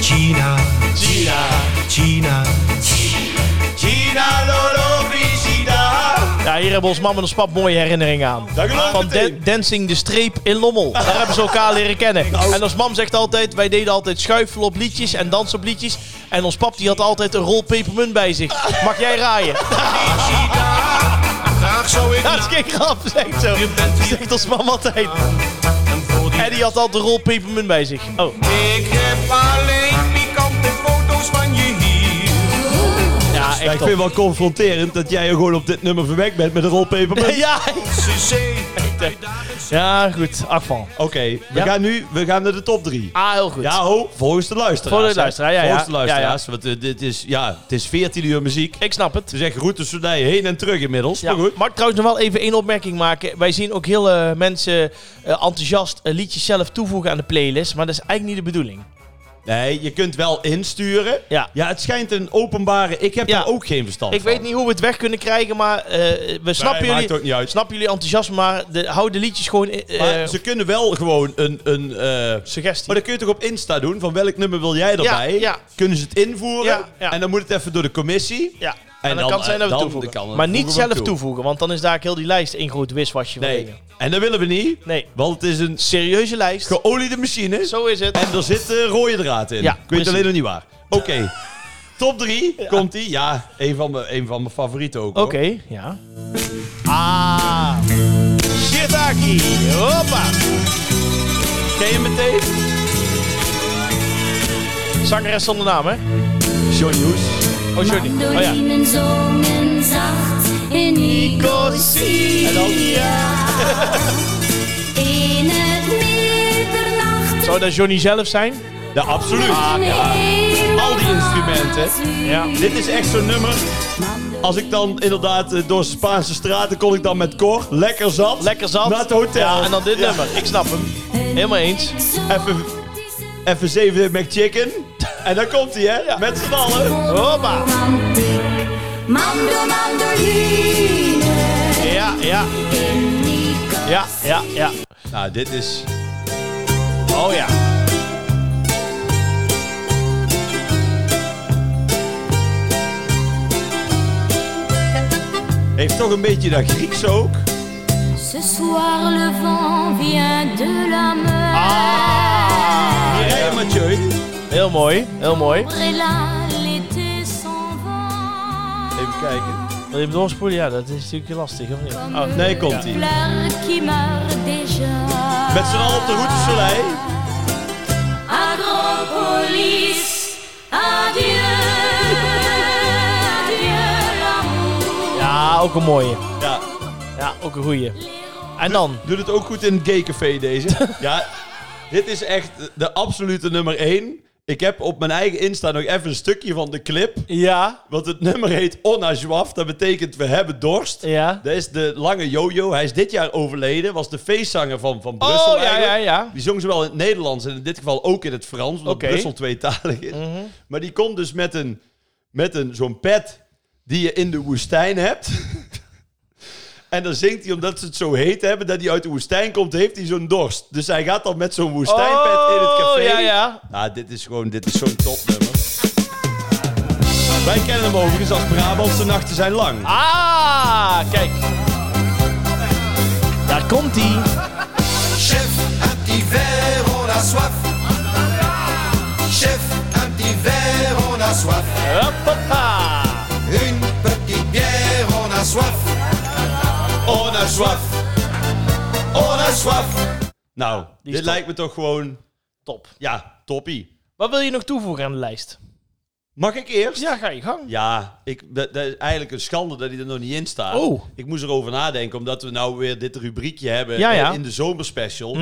Speaker 7: Gina, Gina,
Speaker 2: Gina Loro Brigida.
Speaker 1: Ja, hier hebben ons mam en ons pap mooie herinneringen aan.
Speaker 2: Daar geloof ik
Speaker 1: Van
Speaker 2: meteen.
Speaker 1: Dan- Dancing de Streep in Lommel. Daar hebben ze elkaar leren kennen. En ons mam zegt altijd, wij deden altijd schuifelen op liedjes en dansen op liedjes. En ons pap die had altijd een rol pepermunt bij zich. Mag jij raaien?
Speaker 7: Graag
Speaker 4: Nou,
Speaker 7: zou ik
Speaker 1: Ja, dat is geen grap, zegt zo. Zegt ons mam altijd.
Speaker 7: en voor die
Speaker 1: En die had altijd een rol pepermunt bij zich. Oh,
Speaker 7: Ik heb alleen pikante foto's van je hier.
Speaker 1: ja,
Speaker 2: Ja, ik
Speaker 1: echt
Speaker 2: vind het
Speaker 1: top.
Speaker 2: wel confronterend dat jij gewoon op dit nummer verwekt bent met een rol pepermunt.
Speaker 1: Ja,
Speaker 7: Ze zee.
Speaker 1: ja, goed. Afval.
Speaker 2: Oké, we
Speaker 1: Ja.
Speaker 2: gaan nu we gaan naar de top 3.
Speaker 1: Ah, heel goed.
Speaker 2: Ja, ho, volgens de luisteraars.
Speaker 1: Volgens de
Speaker 2: hè.
Speaker 1: luisteraar, ja, ja.
Speaker 2: Volgens de luisteraars,
Speaker 1: Ja,
Speaker 2: want eh, dit is, ja, het is 14 uur muziek.
Speaker 1: Ik snap het.
Speaker 2: Het is echt route Soudij heen en terug inmiddels,
Speaker 1: Ja,
Speaker 2: maar goed.
Speaker 1: Mag ik trouwens nog wel even één opmerking maken? Wij zien ook heel eh, mensen eh, enthousiast eh, liedjes zelf toevoegen aan de playlist, maar dat is eigenlijk niet de bedoeling.
Speaker 2: Nee, je kunt wel insturen.
Speaker 1: Ja.
Speaker 2: Ja, het schijnt een openbare... Ik heb
Speaker 1: Ja.
Speaker 2: daar ook geen verstand
Speaker 1: Ik
Speaker 2: van.
Speaker 1: weet niet hoe we het weg kunnen krijgen, maar eh, we snappen
Speaker 2: maakt
Speaker 1: jullie,
Speaker 2: ook niet uit.
Speaker 1: snappen jullie enthousiasme, maar de, hou de liedjes gewoon eh,
Speaker 2: Maar
Speaker 1: eh,
Speaker 2: ze kunnen wel gewoon een... een eh,
Speaker 1: suggestie.
Speaker 2: maar dan kun je toch op Insta doen, van welk nummer wil jij erbij?
Speaker 1: ja.
Speaker 2: Kunnen ze het invoeren?
Speaker 1: Ja, ja.
Speaker 2: En dan moet het even door de commissie.
Speaker 1: ja. En,
Speaker 2: En
Speaker 1: dan, kan
Speaker 2: dan,
Speaker 1: het zijn dat we
Speaker 2: eh,
Speaker 1: het
Speaker 2: dan
Speaker 1: toevoegen.
Speaker 2: kan het
Speaker 1: maar niet
Speaker 2: voegen we
Speaker 1: zelf
Speaker 2: toe.
Speaker 1: toevoegen, want dan is daar heel die lijst één groot wiswasje van
Speaker 2: Nee,
Speaker 1: dingen.
Speaker 2: en dat willen we niet.
Speaker 1: Nee.
Speaker 2: Want het is een
Speaker 1: Serieuze lijst.
Speaker 2: geoliede machine.
Speaker 1: Zo is het.
Speaker 2: En er zit eh, rode draad in.
Speaker 1: Ja,
Speaker 2: ik weet
Speaker 1: precies.
Speaker 2: alleen nog niet waar. Oké. Top 3 komt die. Ja, een van mijn- een van mijn favorieten ook. hoor.
Speaker 1: Oké, ja. Ah. Shitaki. Hoppa.
Speaker 2: Ken je meteen?
Speaker 1: Zangeres zonder naam, hè?
Speaker 2: John Hughes.
Speaker 1: Oh, Johnny. Oh ja.
Speaker 8: Dolinen zongen zacht in Nicosia.
Speaker 1: En dan?
Speaker 8: In het middernacht.
Speaker 1: Zou dat Johnny zelf zijn?
Speaker 2: Ja, absoluut. Ah, Al die instrumenten.
Speaker 1: Ja.
Speaker 2: Dit is echt zo'n nummer. Als ik dan inderdaad eh, door Spaanse straten kon ik dan met Cor lekker zat.
Speaker 1: Lekker zat.
Speaker 2: Naar het hotel.
Speaker 1: Ja, en dan dit
Speaker 2: Ja.
Speaker 1: nummer. Ik snap hem. Helemaal eens.
Speaker 2: Even, even zeven McChicken. En dan komt hij, hè? Met z'n allen.
Speaker 1: Hoppa.
Speaker 8: Mando mandoline.
Speaker 1: Ja, ja. Ja, ja, ja.
Speaker 2: Nou, dit is...
Speaker 1: Oh ja.
Speaker 2: Heeft toch een beetje dat Grieks ook.
Speaker 8: Ce soir le vent vient de la mer.
Speaker 2: Hier, hè, Mathieu.
Speaker 1: Heel mooi. Heel mooi.
Speaker 8: Et là, l'été s'en va.
Speaker 2: Even kijken.
Speaker 1: Wil je hem doorspoelen? Ja, dat is natuurlijk lastig, of niet?
Speaker 8: Comme
Speaker 1: Oh.
Speaker 2: Nee, komt ie.
Speaker 8: fleur qui meurt déjà.
Speaker 2: Met z'n allen op de route Soleil.
Speaker 8: Agropolis, adieu, adieu l'amour.
Speaker 1: Ja, ook een mooie.
Speaker 2: Ja,
Speaker 1: Ja, ook een goeie. En dan?
Speaker 2: doet het ook goed in het gaycafé deze. ja, dit is echt de absolute nummer 1. Ik heb op mijn eigen Insta nog even een stukje van de clip.
Speaker 1: Ja.
Speaker 2: Want het nummer heet Onna Joaf. Dat betekent we hebben dorst.
Speaker 1: Ja.
Speaker 2: Dat is de lange Jojo. Hij is dit jaar overleden. Was de feestzanger van, van Brussel
Speaker 1: Oh, ja, ja,
Speaker 2: eigenlijk.
Speaker 1: ja.
Speaker 2: Die zong zowel in het Nederlands en in dit geval ook in het Frans. Omdat
Speaker 1: Oké. Mhm.
Speaker 2: Brussel tweetalig is. Maar die komt dus met, een, met een, zo'n pet die je in de woestijn hebt. en dan zingt hij, omdat ze het zo heet hebben, dat hij uit de woestijn komt, heeft hij zo'n dorst. Dus hij gaat dan met zo'n woestijnpet in het café.
Speaker 1: Oh, ja, ja.
Speaker 2: Nou, dit is gewoon, dit is zo'n topnummer. Wij kennen hem overigens als Brabantse nachten zijn lang.
Speaker 1: Ah, kijk. Daar komt hij.
Speaker 6: Chef, un petit verre, on a soif. Chef, un petit verre, on a soif.
Speaker 1: Hoppapa.
Speaker 6: Une petite bière, on a soif. On a soif. On a soif.
Speaker 2: Nou, dit
Speaker 1: is top.
Speaker 2: lijkt me toch gewoon,
Speaker 1: Top.
Speaker 2: ja, toppie.
Speaker 1: Wat wil je nog toevoegen aan de lijst?
Speaker 2: Mag ik eerst?
Speaker 1: Ja, ga je gang.
Speaker 2: Ja, ik, dat, dat is eigenlijk een schande dat hij er nog niet in staat.
Speaker 1: Oh.
Speaker 2: Ik moest erover nadenken, omdat we nou weer dit rubriekje hebben
Speaker 1: Ja,
Speaker 2: eh,
Speaker 1: ja. Mhm.
Speaker 2: in de zomerspecial.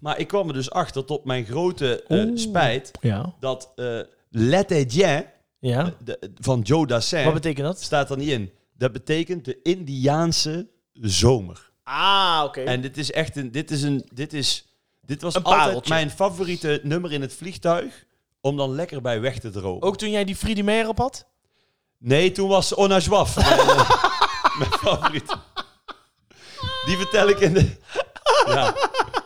Speaker 2: Maar ik kwam er dus achter, tot mijn grote eh,
Speaker 1: Oeh.
Speaker 2: spijt,
Speaker 1: Ja.
Speaker 2: dat eh Let Etienne
Speaker 1: ja.
Speaker 2: de- van Joe Dassin
Speaker 1: Wat betekent dat?
Speaker 2: staat er niet in. Dat betekent de Indiaanse zomer.
Speaker 1: Ah, oké.
Speaker 2: En dit is echt een, dit is een, dit is, dit was
Speaker 1: Een
Speaker 2: altijd
Speaker 1: pareltje.
Speaker 2: mijn favoriete nummer in het vliegtuig om dan lekker bij weg te dromen.
Speaker 1: Ook toen jij die Friedimer op had?
Speaker 2: Nee, toen was Ona Zwaf mijn, eh, mijn favoriet. Die vertel ik in de... Ja,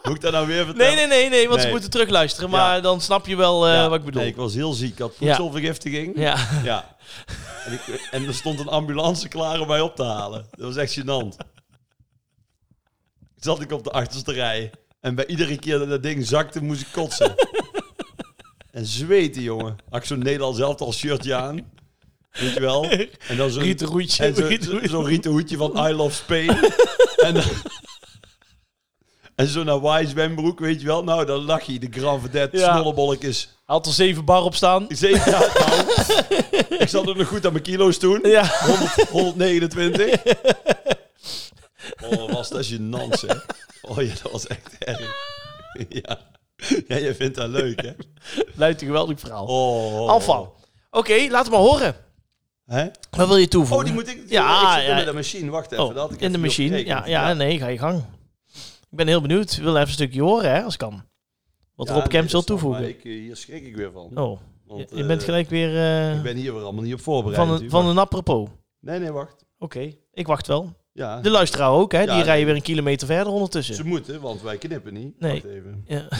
Speaker 2: moet ik dat nou weer vertellen?
Speaker 1: Nee, nee, nee, nee, want ze
Speaker 2: Nee.
Speaker 1: moeten terugluisteren. Maar
Speaker 2: Ja.
Speaker 1: dan snap je wel eh,
Speaker 2: Ja,
Speaker 1: wat ik bedoel.
Speaker 2: Nee, ik was heel ziek. Ik had
Speaker 1: Ja.
Speaker 2: voedselvergiftiging. Ja.
Speaker 1: Ja.
Speaker 2: En, ik, en er stond een ambulance klaar om mij op te halen. Dat was echt gênant. Zat ik op de achterste rij. En bij iedere keer dat dat ding zakte, moest ik kotsen. En zweten, jongen. Had ik zo'n Nederlands elftal shirtje aan. Weet je wel? En dan zo'n
Speaker 1: Rieten roetje,
Speaker 2: en zo-
Speaker 1: rieten
Speaker 2: zo-
Speaker 1: roetje.
Speaker 2: Zo'n rieten hoedje van I Love Spain. en dan- en zo'n Hawaii zwembroek, weet je wel? Nou, dan lag je. De Grand Vedette,
Speaker 1: Ja.
Speaker 2: snollebolletjes.
Speaker 1: Had er zeven bar op staan.
Speaker 2: Zeker, ja, nou, ik zat ook nog goed aan mijn kilo's toen.
Speaker 1: Ja.
Speaker 2: 100, 129. Oh, was dat gênant, zeg. Oh ja, dat was echt erg. Ja. ja, jij vindt dat leuk, hè?
Speaker 1: Luidt een geweldig verhaal.
Speaker 2: Oh.
Speaker 1: Alfa. Oké, laat het maar horen.
Speaker 2: Hè?
Speaker 1: Wat wil je toevoegen?
Speaker 2: Oh, die moet ik...
Speaker 1: Ja,
Speaker 2: Ja, ik zit
Speaker 1: ja.
Speaker 2: in de machine. Wacht even.
Speaker 1: Oh,
Speaker 2: dat had
Speaker 1: in
Speaker 2: ik
Speaker 1: de
Speaker 2: even niet
Speaker 1: machine.
Speaker 2: opgekeken.
Speaker 1: Ja, ja, nee, ga je gang. Ik ben heel benieuwd. Ik wil even een stukje horen, hè, als kan. Wat
Speaker 2: Ja,
Speaker 1: Rob
Speaker 2: nee,
Speaker 1: Kemps
Speaker 2: dat
Speaker 1: wil
Speaker 2: is wel,
Speaker 1: toevoegen.
Speaker 2: maar ik, eh, hier schrik ik weer van.
Speaker 1: Oh,
Speaker 2: Want,
Speaker 1: je, je
Speaker 2: eh,
Speaker 1: bent gelijk weer eh,
Speaker 2: Ik ben hier weer allemaal niet op voorbereid.
Speaker 1: van, een,
Speaker 2: natuurlijk.
Speaker 1: van een apropos. Oké,
Speaker 2: Nee, nee, wacht.
Speaker 1: ik wacht wel.
Speaker 2: Ja,
Speaker 1: De luisteraar ook, hè?
Speaker 2: Ja,
Speaker 1: die rijden
Speaker 2: nee.
Speaker 1: weer een kilometer verder
Speaker 2: ze
Speaker 1: ondertussen.
Speaker 2: moeten, want wij knippen niet.
Speaker 1: Nee.
Speaker 2: Wacht even.
Speaker 1: Ja.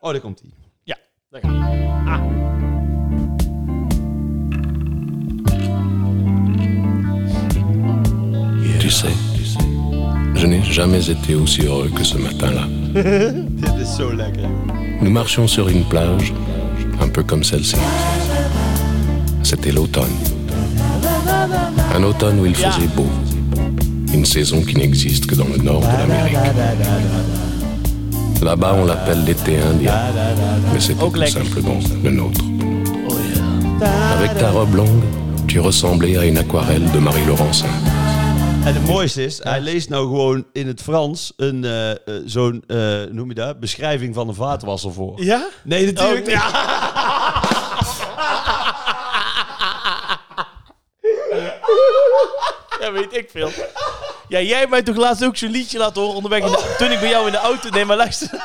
Speaker 2: Oh, daar komt hij.
Speaker 1: Ja, daar gaan we.
Speaker 9: Tu sais, je n'ai jamais été aussi heureux que ce matin-là.
Speaker 2: Dit is zo lekker.
Speaker 9: Nous marchions sur une plage, un peu comme celle-ci. C'était l'automne. Un automne où il faisait beau. Une saison qui n'existe que dans le nord de l'Amérique. Là-bas, on l'appelle l'été indien, mais c'était tout simplement le nôtre. Avec ta robe longue, tu ressemblais à une aquarelle de Marie-Laurencin.
Speaker 2: En het mooiste is, hij leest nou gewoon in het Frans een eh, eh, zo'n, eh, noem je dat, beschrijving van een vaatwasser voor.
Speaker 1: Ja? Oh,
Speaker 2: Nee, natuurlijk niet.
Speaker 1: Ja, weet ik veel. Ja, jij hebt mij toch laatst ook zo'n liedje laten horen onderweg. in de- toen ik bij jou in de auto... Nee, maar luister.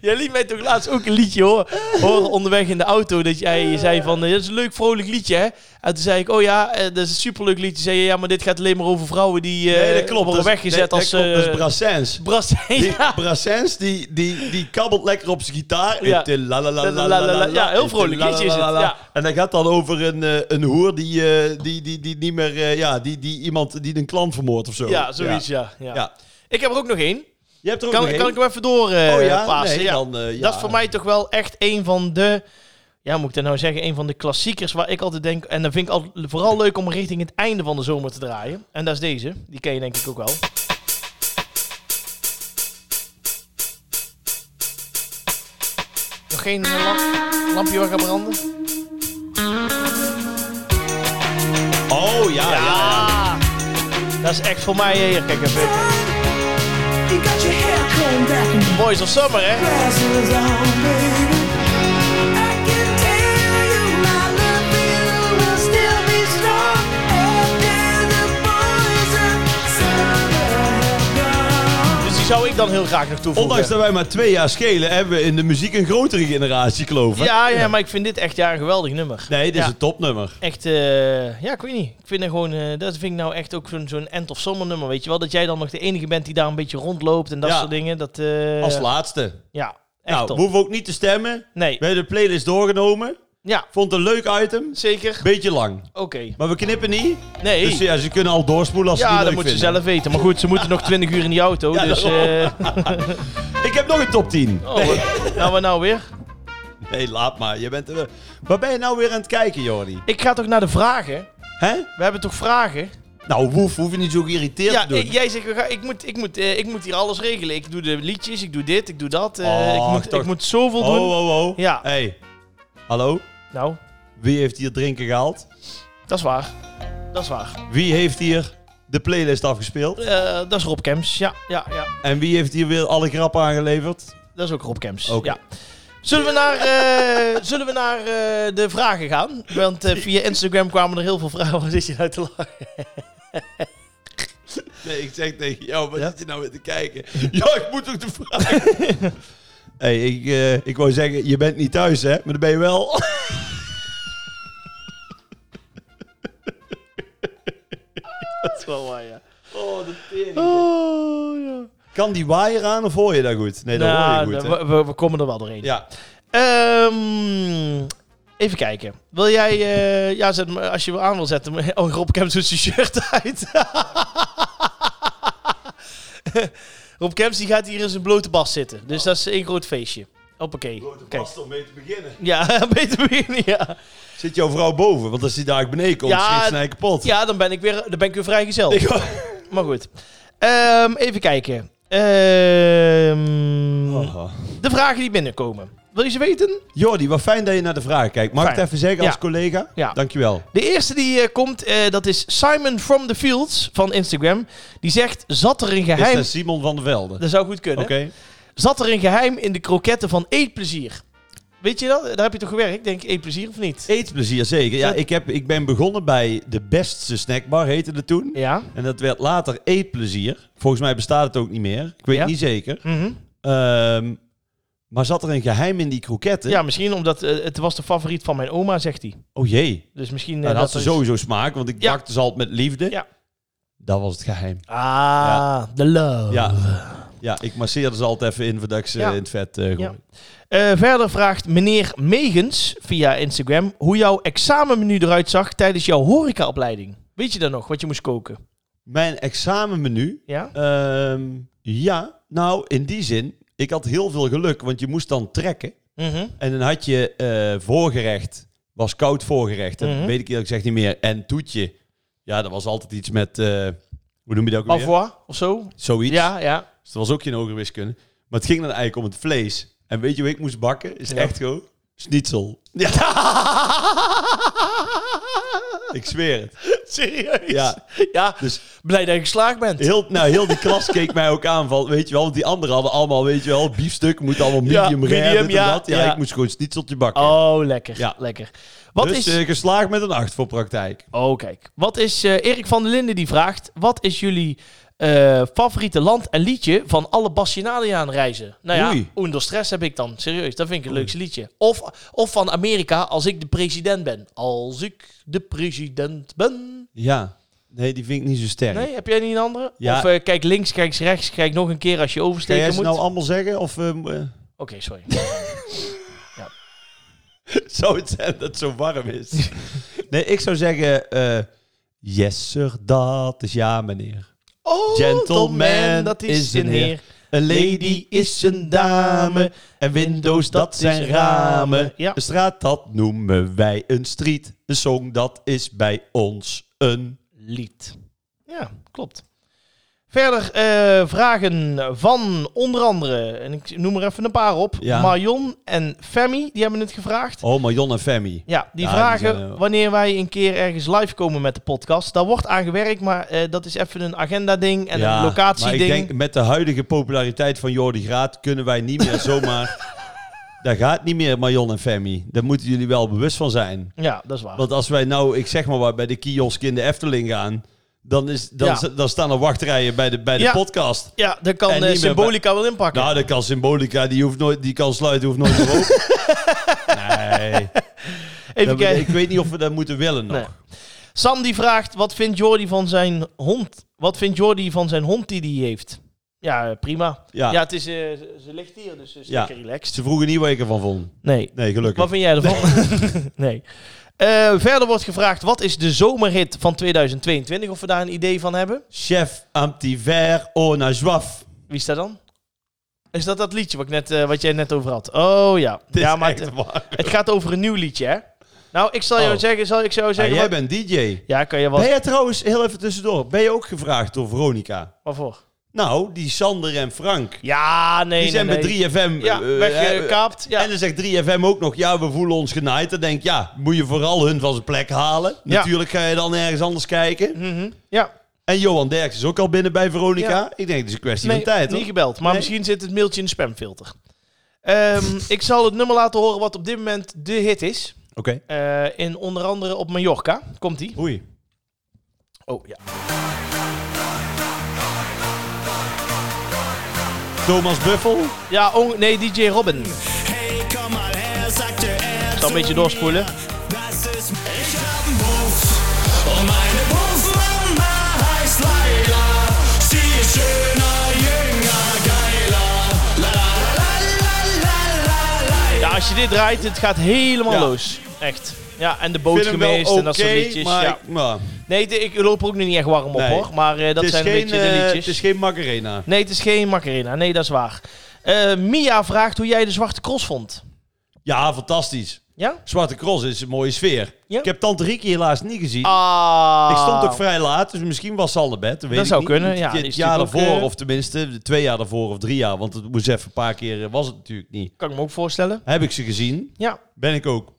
Speaker 1: Jij liet mij toch laatst ook een liedje hoor, horen onderweg in de auto. Dat jij zei van, eh, dat is een leuk vrolijk liedje hè. En toen zei ik, oh ja, eh, dat is een superleuk liedje. Zei je, ja, maar dit gaat alleen maar over vrouwen die eh
Speaker 2: Nee, dat klopt.
Speaker 1: worden
Speaker 2: Dat is-
Speaker 1: weggezet
Speaker 2: dat-
Speaker 1: als...
Speaker 2: Dat klopt, dat is
Speaker 1: eh,
Speaker 2: Brassens.
Speaker 1: Bras.
Speaker 2: Die,
Speaker 1: Ja.
Speaker 2: Brassens, die, die, die kabbelt lekker op zijn gitaar.
Speaker 1: Ja.
Speaker 2: Et te la la la la la la la.
Speaker 1: Ja, heel
Speaker 2: Et te
Speaker 1: vrolijk
Speaker 2: la la
Speaker 1: liedje is
Speaker 2: la la
Speaker 1: het,
Speaker 2: la.
Speaker 1: ja.
Speaker 2: En dat gaat dan over een, eh, een hoer die, eh, die, die, die niet meer... eh, ja, die, die iemand die een klant vermoordt of zo.
Speaker 1: Ja, zoiets, ja. ja.
Speaker 2: Ja.
Speaker 1: Ik heb er ook nog één.
Speaker 2: Je hebt er ook
Speaker 1: Kan,
Speaker 2: nog
Speaker 1: kan
Speaker 2: één.
Speaker 1: ik hem even door eh
Speaker 2: Oh ja?
Speaker 1: pasen?
Speaker 2: Nee,
Speaker 1: ja.
Speaker 2: dan, eh, ja.
Speaker 1: Dat is voor mij toch wel echt een van de... Ja, moet ik dat nou zeggen? Een van de klassiekers waar ik altijd denk... En dan vind ik al, vooral leuk om richting het einde van de zomer te draaien. En dat is deze. Die ken je denk ik ook wel. Nog geen eh, lamp- lampje waar gaat branden?
Speaker 2: Oh, ja, ja, ja.
Speaker 1: Dat is echt voor mij hier. Kijk even. Boys of Summer, hè? Dus die zou ik dan heel graag nog toevoegen.
Speaker 2: Ondanks dat wij maar twee jaar schelen, hebben we in de muziek een grotere generatie, geloof ik.
Speaker 1: ja, ja, maar ik vind dit echt ja, een geweldig nummer.
Speaker 2: Nee, dit is
Speaker 1: Ja.
Speaker 2: een topnummer.
Speaker 1: Echt, eh, ja, ik weet niet. Ik vind dat gewoon, eh, dat vind ik nou echt ook zo'n zo'n end of summer nummer, weet je wel. Dat jij dan nog de enige bent die daar een beetje rondloopt en dat
Speaker 2: Ja.
Speaker 1: soort dingen. Dat, eh,
Speaker 2: Als laatste.
Speaker 1: Ja, echt
Speaker 2: Nou,
Speaker 1: top.
Speaker 2: we hoeven ook niet te stemmen.
Speaker 1: Nee,
Speaker 2: We hebben de playlist doorgenomen.
Speaker 1: ja,
Speaker 2: Vond het een leuk item.
Speaker 1: zeker.
Speaker 2: Beetje lang.
Speaker 1: Oké.
Speaker 2: Maar we knippen niet.
Speaker 1: Nee.
Speaker 2: Dus ja, ze kunnen al doorspoelen als ze
Speaker 1: ja,
Speaker 2: het
Speaker 1: dat
Speaker 2: niet
Speaker 1: moet
Speaker 2: leuk
Speaker 1: ze
Speaker 2: vinden.
Speaker 1: zelf weten. Maar goed, ze moeten nog 20 uur in die auto,
Speaker 2: Ja,
Speaker 1: dus...
Speaker 2: daarom.
Speaker 1: eh,
Speaker 2: Ik heb nog een top 10.
Speaker 1: Oh, wat- nou, wat nou weer?
Speaker 2: Nee, laat maar. Je bent er... Waar ben je nou weer aan het kijken, Jordi?
Speaker 1: Ik ga toch naar de vragen?
Speaker 2: Hè?
Speaker 1: We hebben toch vragen?
Speaker 2: Nou, woef, hoef je niet zo geïrriteerd
Speaker 1: Ja,
Speaker 2: te doen.
Speaker 1: ik- jij zegt, we gaan- ik moet, ik, moet, eh, ik moet hier alles regelen. Ik doe de liedjes, ik doe dit, ik doe dat. eh,
Speaker 2: Och,
Speaker 1: ik, moet,
Speaker 2: Oh, toch.
Speaker 1: ik moet zoveel
Speaker 2: Oh,
Speaker 1: doen.
Speaker 2: oh, oh.
Speaker 1: Ja.
Speaker 2: Hey. Hallo?
Speaker 1: Nou,
Speaker 2: Wie heeft hier drinken gehaald?
Speaker 1: dat is waar. Dat is waar.
Speaker 2: Wie heeft hier de playlist afgespeeld?
Speaker 1: Eh, dat is Rob Kemps. Ja, ja, ja.
Speaker 2: En wie heeft hier weer alle grappen aangeleverd?
Speaker 1: Dat is ook Rob Kemps.
Speaker 2: Oké.
Speaker 1: Ja. Zullen we naar, eh, zullen we naar eh, de vragen gaan? Want eh, via Instagram kwamen er heel veel vragen. Waar zit je nou te lachen?
Speaker 2: Nee, ik zeg tegen jou, wat zit je nou weer te kijken? Ja, ik moet ook de vraag. hey, ik, eh, ik wou zeggen, je bent niet thuis, hè? Maar dan ben je wel.
Speaker 1: Dat is wel waar, ja.
Speaker 2: Oh, de tering. Kan die waaier aan of hoor je dat goed? Nee, Oh, dat
Speaker 1: Nou,
Speaker 2: hoor je goed, hè?
Speaker 1: we, we- we komen er wel doorheen.
Speaker 2: Ja.
Speaker 1: Ehm, even kijken. Wil jij... eh, ja, zet me, als je hem aan wil zetten... maar- Oh, Rob Kemps doet zijn shirt uit. Rob Kemps die gaat hier in zijn blote bas zitten.
Speaker 2: Oh.
Speaker 1: Dus dat is één groot feestje. Hoppakee. Kijk.
Speaker 2: om mee te beginnen.
Speaker 1: Ja, beter beginnen, ja.
Speaker 2: Zit jouw vrouw boven? Want als die daar beneden komt,
Speaker 1: Ja,
Speaker 2: schiet ze naar je kapot.
Speaker 1: Ja, dan ben ik weer, dan ben ik weer vrijgezel.
Speaker 2: Ik-
Speaker 1: Maar goed. Ehm, even kijken. Ehm,
Speaker 2: Oh.
Speaker 1: De vragen die binnenkomen. Wil je ze weten?
Speaker 2: Jordi, wat fijn dat je naar de vragen kijkt. Mag ik
Speaker 1: Fijn.
Speaker 2: het even zeggen als
Speaker 1: Ja.
Speaker 2: collega?
Speaker 1: Ja.
Speaker 2: Dankjewel.
Speaker 1: De eerste die eh, komt, eh, dat is Simon from the Fields van Instagram. Die zegt, zat er een
Speaker 2: Is
Speaker 1: geheim...
Speaker 2: dat Simon van der Velde? Oké.
Speaker 1: Dat zou goed kunnen. Zat er een geheim in de kroketten van Eetplezier? Weet je dat? Daar heb je toch gewerkt? Denk ik, Eetplezier of niet?
Speaker 2: Eetplezier, zeker. Ja,
Speaker 1: Dat-
Speaker 2: ik, heb, ik ben begonnen bij de Bestse Snackbar, heette dat toen.
Speaker 1: Ja.
Speaker 2: En dat werd later Eetplezier. Volgens mij bestaat het ook niet meer. Ik weet
Speaker 1: Ja.
Speaker 2: niet zeker.
Speaker 1: Mhm.
Speaker 2: Ehm, maar zat er een geheim in die kroketten?
Speaker 1: Ja, misschien omdat eh, het was de favoriet van mijn oma, zegt hij.
Speaker 2: Oh jee.
Speaker 1: Dus misschien... eh,
Speaker 2: Nou, dat had ze
Speaker 1: is-
Speaker 2: sowieso smaak, want ik
Speaker 1: Ja.
Speaker 2: bakte ze altijd met liefde.
Speaker 1: Ja.
Speaker 2: Dat was het geheim.
Speaker 1: Ah, de love.
Speaker 2: Ja. ja, ik masseerde ze altijd even in voordat ik ze
Speaker 1: Ja.
Speaker 2: in het vet eh gooi.
Speaker 1: Ja. Eh, verder vraagt meneer Megens via Instagram hoe jouw examenmenu eruit zag tijdens jouw horecaopleiding. Weet je dan nog wat je moest koken?
Speaker 2: Mijn examenmenu.
Speaker 1: Ja?
Speaker 2: ehm, ja, nou in die zin. Ik had heel veel geluk, want je moest dan trekken.
Speaker 1: Mhm.
Speaker 2: En dan had je eh, voorgerecht, was koud voorgerecht. Dat
Speaker 1: Mhm.
Speaker 2: weet ik eerlijk gezegd niet meer. En toetje, ja, dat was altijd iets met, eh, hoe noem je dat ook weer?
Speaker 1: Pavois of zo?
Speaker 2: Zoiets.
Speaker 1: Ja, ja.
Speaker 2: Dus dat was ook geen hogere wiskunde. Maar het ging dan eigenlijk om het vlees. En weet je hoe ik moest bakken? Is
Speaker 1: Ja.
Speaker 2: echt gewoon schnitzel. Ja. ik zweer het.
Speaker 1: Serieus?
Speaker 2: Ja.
Speaker 1: ja.
Speaker 2: Dus
Speaker 1: Blij dat je geslaagd bent.
Speaker 2: heel, nou, heel die klas keek mij ook aan van, weet je wel, want die anderen hadden allemaal, weet je wel, biefstuk, moet allemaal medium
Speaker 1: Ja,
Speaker 2: rare,
Speaker 1: medium,
Speaker 2: dit en
Speaker 1: ja,
Speaker 2: dat. Ja,
Speaker 1: ja.
Speaker 2: ik moest gewoon schnitzeltje bakken.
Speaker 1: Oh, lekker.
Speaker 2: Ja.
Speaker 1: Lekker. Wat
Speaker 2: dus
Speaker 1: is...
Speaker 2: eh, geslaagd met een 8 voor praktijk.
Speaker 1: Oh, kijk. Wat is... eh, Erik van der Linden die vraagt, wat is jullie eh, favoriete land en liedje van alle Bastianaliaan reizen? Nou ja,
Speaker 2: Oei.
Speaker 1: Onder Stress heb ik dan. Serieus, dat vind ik het leukste liedje. Of, of van Amerika, Als ik de president ben. Als ik de president ben.
Speaker 2: Ja. Nee, die vind ik niet zo sterk.
Speaker 1: Nee, heb jij niet een andere?
Speaker 2: Ja.
Speaker 1: Of eh, kijk links, kijk rechts, kijk nog een keer als je
Speaker 2: Kan jij
Speaker 1: oversteken
Speaker 2: ze
Speaker 1: moet.
Speaker 2: nou
Speaker 1: Oké,
Speaker 2: allemaal zeggen? Of ehm, eh,
Speaker 1: sorry.
Speaker 2: zou het zijn dat het zo warm is? nee, ik zou zeggen... eh, yes, sir, dat is ja, meneer.
Speaker 1: Oh,
Speaker 2: Gentleman is een heer. Een lady is een dame. En windows, dat zijn ramen.
Speaker 1: Ja.
Speaker 2: Een straat, dat noemen wij een street. Een song, dat is bij ons een...
Speaker 1: lied. Ja, klopt. Verder eh, vragen van onder andere, en ik noem er even een paar op,
Speaker 2: Ja.
Speaker 1: Marion en Femi, die hebben het gevraagd.
Speaker 2: Oh, Marion en Femi.
Speaker 1: Ja, die
Speaker 2: Ja, die
Speaker 1: vragen
Speaker 2: zijn, eh,
Speaker 1: wanneer wij een keer ergens live komen met de podcast. Daar wordt aan gewerkt, maar eh, dat is even een agenda-ding en een
Speaker 2: maar ik
Speaker 1: locatieding.
Speaker 2: denk met de huidige populariteit van Jordi Graat kunnen wij niet meer zomaar... Dat gaat niet meer, Marion en Femi. Daar moeten jullie wel bewust van zijn.
Speaker 1: Ja, dat is waar.
Speaker 2: Want als wij nou, ik zeg maar wat, bij de kiosk in de Efteling gaan... dan, is, dan,
Speaker 1: Ja.
Speaker 2: z- dan staan er wachtrijen bij de, bij de
Speaker 1: Ja.
Speaker 2: podcast.
Speaker 1: Ja, daar kan
Speaker 2: En
Speaker 1: eh,
Speaker 2: niet meer
Speaker 1: Symbolica wel inpakken.
Speaker 2: Nou, dat kan Symbolica, die, hoeft nooit, die kan sluiten, hoeft nooit meer open. Nee,
Speaker 1: Even
Speaker 2: dat we-
Speaker 1: kijken.
Speaker 2: ik weet niet of we dat moeten willen nog.
Speaker 1: Nee. Sam die vraagt, wat vindt Jordi van zijn hond? Wat vindt Jordi van zijn hond die die heeft? Ja, eh, prima. Ja,
Speaker 2: Ja.
Speaker 1: het is, eh, ze ze ligt hier, dus ze is
Speaker 2: Ja.
Speaker 1: lekker relaxed.
Speaker 2: Ze vroegen niet wat ik ervan vond.
Speaker 1: Nee.
Speaker 2: Nee, gelukkig.
Speaker 1: Wat vind jij ervan? Nee. Eh, verder wordt gevraagd, wat is de zomerhit van 2022? Of we daar een idee van hebben?
Speaker 2: Chef Antiver oh, nou, Ona Joaf.
Speaker 1: Wie is dat dan? Is dat dat liedje wat, ik net, eh, wat jij net over had? Oh ja.
Speaker 2: Dit
Speaker 1: ja
Speaker 2: is
Speaker 1: maar
Speaker 2: echt
Speaker 1: het,
Speaker 2: waar.
Speaker 1: het gaat over een nieuw liedje, hè? Nou, ik zal jou
Speaker 2: Oh.
Speaker 1: zeggen, zal ik zou
Speaker 2: Ah,
Speaker 1: zeggen...
Speaker 2: jij
Speaker 1: wat-
Speaker 2: bent DJ.
Speaker 1: Ja, kan je wat...
Speaker 2: Ben jij trouwens, heel even tussendoor, ben je ook gevraagd door Veronica?
Speaker 1: Waarvoor?
Speaker 2: Nou, die Sander en Frank.
Speaker 1: Ja, nee.
Speaker 2: Die zijn
Speaker 1: nee,
Speaker 2: bij
Speaker 1: nee.
Speaker 2: 3FM.
Speaker 1: Ja,
Speaker 2: eh, eh,
Speaker 1: weggekaapt, ja.
Speaker 2: En dan zegt 3FM ook nog, ja, we voelen ons genaaid. Dan denk ik, ja, moet je vooral hun van zijn plek halen.
Speaker 1: Ja. Mhm.
Speaker 2: Natuurlijk ga je dan ergens anders kijken.
Speaker 1: Ja,
Speaker 2: En Johan Derks is ook al binnen bij Veronica.
Speaker 1: Ja.
Speaker 2: Ik denk, het is een kwestie
Speaker 1: nee,
Speaker 2: van tijd,
Speaker 1: niet
Speaker 2: hoor.
Speaker 1: gebeld. Maar
Speaker 2: Nee.
Speaker 1: misschien zit het mailtje in de spamfilter. Ehm, ik zal het nummer laten horen wat op dit moment de hit is.
Speaker 2: Oké.
Speaker 1: Eh, in onder andere op Mallorca. Komt-ie.
Speaker 2: Oei.
Speaker 1: Oh, ja.
Speaker 2: Thomas Buffel.
Speaker 1: Ja, on- nee, DJ Robin.
Speaker 10: Hey, komm mal her, sagt der
Speaker 1: Ik zal een beetje doorspoelen.
Speaker 10: Das ist. Ich hab einen Beruf und meine Berufsmama heißt Laila. Sie ist schöner, jünger, geiler. La la la la la la la.
Speaker 1: Ja, als je dit draait, het gaat helemaal
Speaker 2: Ja.
Speaker 1: los. Echt. Ja, en de
Speaker 2: Ik
Speaker 1: boot
Speaker 2: vind hem wel
Speaker 1: geweest
Speaker 2: oké,
Speaker 1: en dat soort liedjes.
Speaker 2: maar
Speaker 1: Ja.
Speaker 2: ik- nou,
Speaker 1: Nee, de- ik loop er ook nu niet echt warm op
Speaker 2: Nee.
Speaker 1: hoor. Maar eh, dat
Speaker 2: het is
Speaker 1: zijn
Speaker 2: geen,
Speaker 1: een beetje de
Speaker 2: eh,
Speaker 1: liedjes.
Speaker 2: Het is geen Macarena.
Speaker 1: Nee, het is geen Macarena. Nee, dat is waar. Eh, Mia vraagt hoe jij de Zwarte Cross vond.
Speaker 2: Ja, fantastisch.
Speaker 1: Ja?
Speaker 2: Zwarte Cross is een mooie sfeer.
Speaker 1: Ja.
Speaker 2: Ik heb Tante Rieke helaas niet gezien.
Speaker 1: Ah.
Speaker 2: Ik stond ook vrij laat, dus misschien was ze al naar bed. weet
Speaker 1: Dat
Speaker 2: ik
Speaker 1: zou
Speaker 2: niet.
Speaker 1: kunnen, ja,
Speaker 2: Het-
Speaker 1: die
Speaker 2: Het
Speaker 1: is
Speaker 2: jaar
Speaker 1: natuurlijk ook,
Speaker 2: daarvoor,
Speaker 1: eh,
Speaker 2: of tenminste de twee jaar daarvoor of drie jaar. Want het moest even een paar keer, eh, was het natuurlijk niet.
Speaker 1: Kan ik me ook voorstellen.
Speaker 2: Heb ik ze gezien,
Speaker 1: Ja.
Speaker 2: ben ik ook,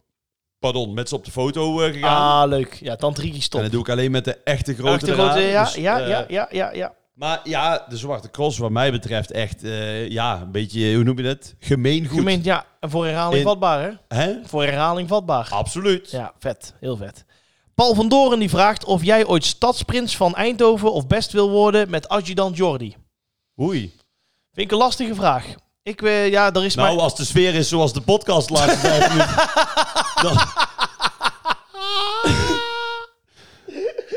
Speaker 2: pardon, met ze op de foto eh, gegaan.
Speaker 1: Ah, leuk. Ja, Tante Riki
Speaker 2: en
Speaker 1: stond.
Speaker 2: dat doe ik alleen met de echte grote
Speaker 1: Echte grote,
Speaker 2: draden,
Speaker 1: ja,
Speaker 2: dus,
Speaker 1: ja,
Speaker 2: eh,
Speaker 1: ja, ja, ja, ja.
Speaker 2: Maar ja, de Zwarte Cross wat mij betreft echt, eh, ja, een beetje, hoe noem je dat? Gemeengoed.
Speaker 1: Gemeen, ja. En voor herhaling
Speaker 2: In-
Speaker 1: vatbaar, hè?
Speaker 2: Hè?
Speaker 1: Voor herhaling vatbaar.
Speaker 2: Absoluut.
Speaker 1: Ja, vet. Heel vet. Paul van Doren die vraagt of jij ooit stadsprins van Eindhoven of best wil worden met adjudant Jordi.
Speaker 2: Oei.
Speaker 1: Vind ik een lastige vraag. Ik, eh, ja, er is
Speaker 2: Nou,
Speaker 1: maar...
Speaker 2: als de sfeer is zoals de podcast laatste vijf minuten, dan...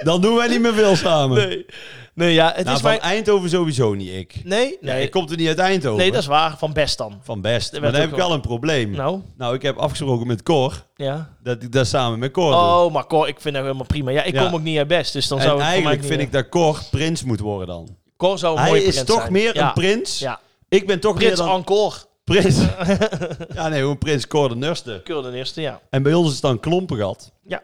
Speaker 2: dan doen wij niet meer veel samen.
Speaker 1: Nee, nee ja, het
Speaker 2: nou,
Speaker 1: is
Speaker 2: van
Speaker 1: mijn...
Speaker 2: Eindhoven sowieso niet ik. Nee,
Speaker 1: Nee? Nee.
Speaker 2: ik kom er niet uit Eindhoven.
Speaker 1: nee, dat is waar. Van best dan.
Speaker 2: Van best. Maar
Speaker 1: werd
Speaker 2: dan
Speaker 1: ook
Speaker 2: heb ik
Speaker 1: wel-
Speaker 2: al een probleem.
Speaker 1: Nou,
Speaker 2: Nou, ik heb afgesproken met Cor
Speaker 1: ja.
Speaker 2: dat ik dat samen met Cor doe.
Speaker 1: Oh, maar Cor, ik vind dat helemaal prima. Ja, ik
Speaker 2: Ja.
Speaker 1: kom ook niet uit best, dus dan zou
Speaker 2: En
Speaker 1: het voor
Speaker 2: eigenlijk
Speaker 1: mij
Speaker 2: vind
Speaker 1: niet-
Speaker 2: ik dat Cor prins moet worden dan.
Speaker 1: Cor zou een
Speaker 2: Hij
Speaker 1: mooie
Speaker 2: is
Speaker 1: prins
Speaker 2: toch
Speaker 1: zijn.
Speaker 2: meer
Speaker 1: Ja.
Speaker 2: een prins.
Speaker 1: Ja.
Speaker 2: Ik ben toch meer
Speaker 1: Prins
Speaker 2: dan
Speaker 1: Ancor.
Speaker 2: prins. ja, nee, hoe prins Cor de Nurste.
Speaker 1: Keur de eerste, ja.
Speaker 2: En bij ons is het dan klompengat.
Speaker 1: Ja.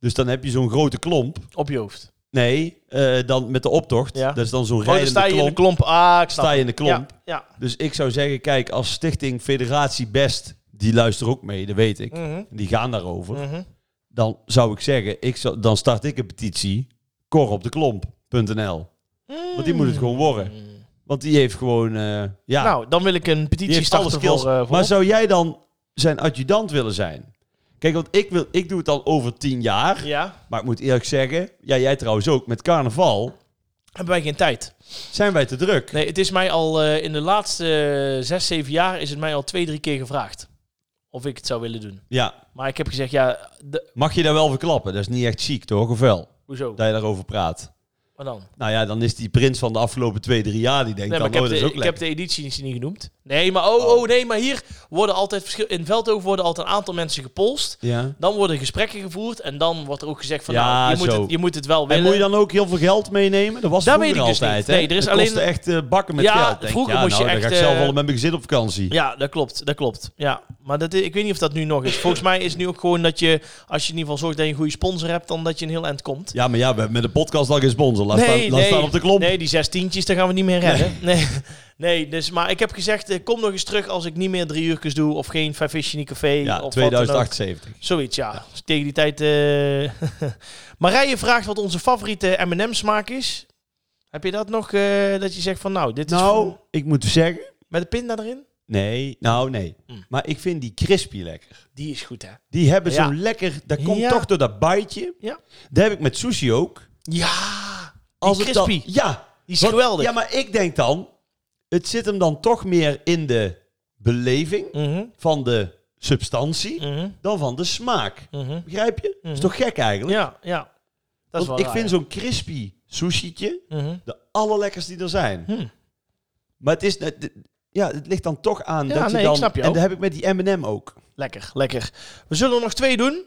Speaker 2: Dus dan heb je zo'n grote klomp.
Speaker 1: Op je hoofd.
Speaker 2: Nee, eh, dan met de optocht.
Speaker 1: Ja.
Speaker 2: Dat is dan zo'n
Speaker 1: Oh, dan
Speaker 2: rijdende
Speaker 1: sta je in
Speaker 2: klomp.
Speaker 1: de klomp. Ah, ik snap
Speaker 2: Sta je in
Speaker 1: het.
Speaker 2: de klomp.
Speaker 1: Ja, ja.
Speaker 2: Dus ik zou zeggen, kijk, als Stichting Federatie Best, die luisteren ook mee, dat weet ik.
Speaker 1: Mhm.
Speaker 2: Die gaan daarover.
Speaker 1: Mhm.
Speaker 2: Dan zou ik zeggen, ik zou, dan start ik een petitie. Koropdeklomp.nl Want die moet het gewoon worden. Want die heeft gewoon, eh, ja,
Speaker 1: Mm. Nou, dan wil ik een
Speaker 2: die
Speaker 1: petitie
Speaker 2: heeft alle
Speaker 1: starten
Speaker 2: skills.
Speaker 1: voor, eh, voor
Speaker 2: maar zou jij dan zijn adjudant willen zijn? Kijk, want ik, wil, ik doe het al over tien jaar.
Speaker 1: Ja,
Speaker 2: Maar ik moet eerlijk zeggen, ja, jij trouwens ook, met carnaval
Speaker 1: hebben wij geen tijd.
Speaker 2: zijn wij te druk.
Speaker 1: Nee, het is mij al eh, in de laatste eh, zes, zeven jaar is het mij al twee, drie keer gevraagd. Of ik het zou willen doen.
Speaker 2: Ja,
Speaker 1: Maar ik heb gezegd, ja, de-
Speaker 2: mag je daar wel verklappen? Dat is niet echt chic, toch? Of wel?
Speaker 1: hoezo?
Speaker 2: Dat je daarover praat.
Speaker 1: Maar dan?
Speaker 2: Nou ja, dan is die prins van de afgelopen twee, drie jaar, die denkt
Speaker 1: Nee, maar
Speaker 2: dan,
Speaker 1: ik, heb
Speaker 2: oh, dat
Speaker 1: de,
Speaker 2: is ook
Speaker 1: ik heb
Speaker 2: lekker.
Speaker 1: de editie niet- niet genoemd. Nee, maar oh, oh. nee, maar hier worden altijd verschil, in Veldhoven worden altijd een aantal mensen gepolst.
Speaker 2: Ja.
Speaker 1: Dan worden gesprekken gevoerd en dan wordt er ook gezegd van,
Speaker 2: Ja,
Speaker 1: nou, je moet,
Speaker 2: zo.
Speaker 1: het, je moet het wel willen.
Speaker 2: En moet je dan ook heel veel geld meenemen? Dat was
Speaker 1: Dat
Speaker 2: vroeger
Speaker 1: weet ik dus
Speaker 2: altijd,
Speaker 1: niet.
Speaker 2: hè?
Speaker 1: Nee, er is
Speaker 2: Dat kostte
Speaker 1: alleen-
Speaker 2: echt eh, bakken met
Speaker 1: Ja,
Speaker 2: geld. Denk,
Speaker 1: vroeger
Speaker 2: ja,
Speaker 1: moest je
Speaker 2: nou,
Speaker 1: echt,
Speaker 2: Dan ga ik zelf
Speaker 1: eh,
Speaker 2: wel met mijn gezin op vakantie.
Speaker 1: Ja, dat klopt. Dat klopt. Ja. Maar dat, ik weet niet of dat nu nog is. Volgens mij is nu ook gewoon dat je, als je in ieder geval zorgt dat je een goede sponsor hebt, dan dat je een heel eind komt.
Speaker 2: Ja, maar ja, we hebben met de podcast al geen sponsor. Laat, staan, laat staan op de klomp.
Speaker 1: Nee, die zes tientjes, daar gaan we niet meer redden. Nee. nee. dus, maar ik heb gezegd, eh, kom nog eens terug als ik niet meer drie uurtjes doe of geen Favish Café.
Speaker 2: ja,
Speaker 1: of wat dan ook.
Speaker 2: 2078.
Speaker 1: Zoiets, ja. Dus Tegen die tijd... eh Marije vraagt wat onze favoriete M&M smaak is. Heb je dat nog, eh, dat je zegt van nou, dit is...
Speaker 2: Nou,
Speaker 1: voor-
Speaker 2: ik moet zeggen...
Speaker 1: Met de pinda erin?
Speaker 2: Nee, nou nee. Maar ik vind die crispy lekker.
Speaker 1: Hmm. Die is goed, hè?
Speaker 2: Die hebben
Speaker 1: Ja.
Speaker 2: zo'n lekker... Dat komt
Speaker 1: Ja.
Speaker 2: toch door dat baaitje.
Speaker 1: Ja.
Speaker 2: Dat heb ik met sushi ook.
Speaker 1: Ja!
Speaker 2: Als
Speaker 1: Die
Speaker 2: het dan-
Speaker 1: crispy.
Speaker 2: ja.
Speaker 1: Die is
Speaker 2: Want-
Speaker 1: geweldig.
Speaker 2: Ja, maar ik denk dan... Het zit hem dan toch meer in de beleving
Speaker 1: Mhm,
Speaker 2: van de substantie
Speaker 1: mhm,
Speaker 2: dan van de smaak.
Speaker 1: mhm.
Speaker 2: Begrijp je? Dat is toch gek eigenlijk?
Speaker 1: Ja, ja. Dat is
Speaker 2: Want
Speaker 1: wel
Speaker 2: ik
Speaker 1: raar,
Speaker 2: vind
Speaker 1: ja.
Speaker 2: zo'n crispy sushietje
Speaker 1: Mhm.
Speaker 2: de allerlekkers die er zijn.
Speaker 1: Hmm.
Speaker 2: Maar het is... net- Ja, het ligt dan toch aan
Speaker 1: Ja,
Speaker 2: dat
Speaker 1: nee,
Speaker 2: je
Speaker 1: ik
Speaker 2: dan...
Speaker 1: snap je
Speaker 2: en
Speaker 1: ook.
Speaker 2: dat heb ik met die M&M ook.
Speaker 1: Lekker, lekker. We zullen er nog twee doen.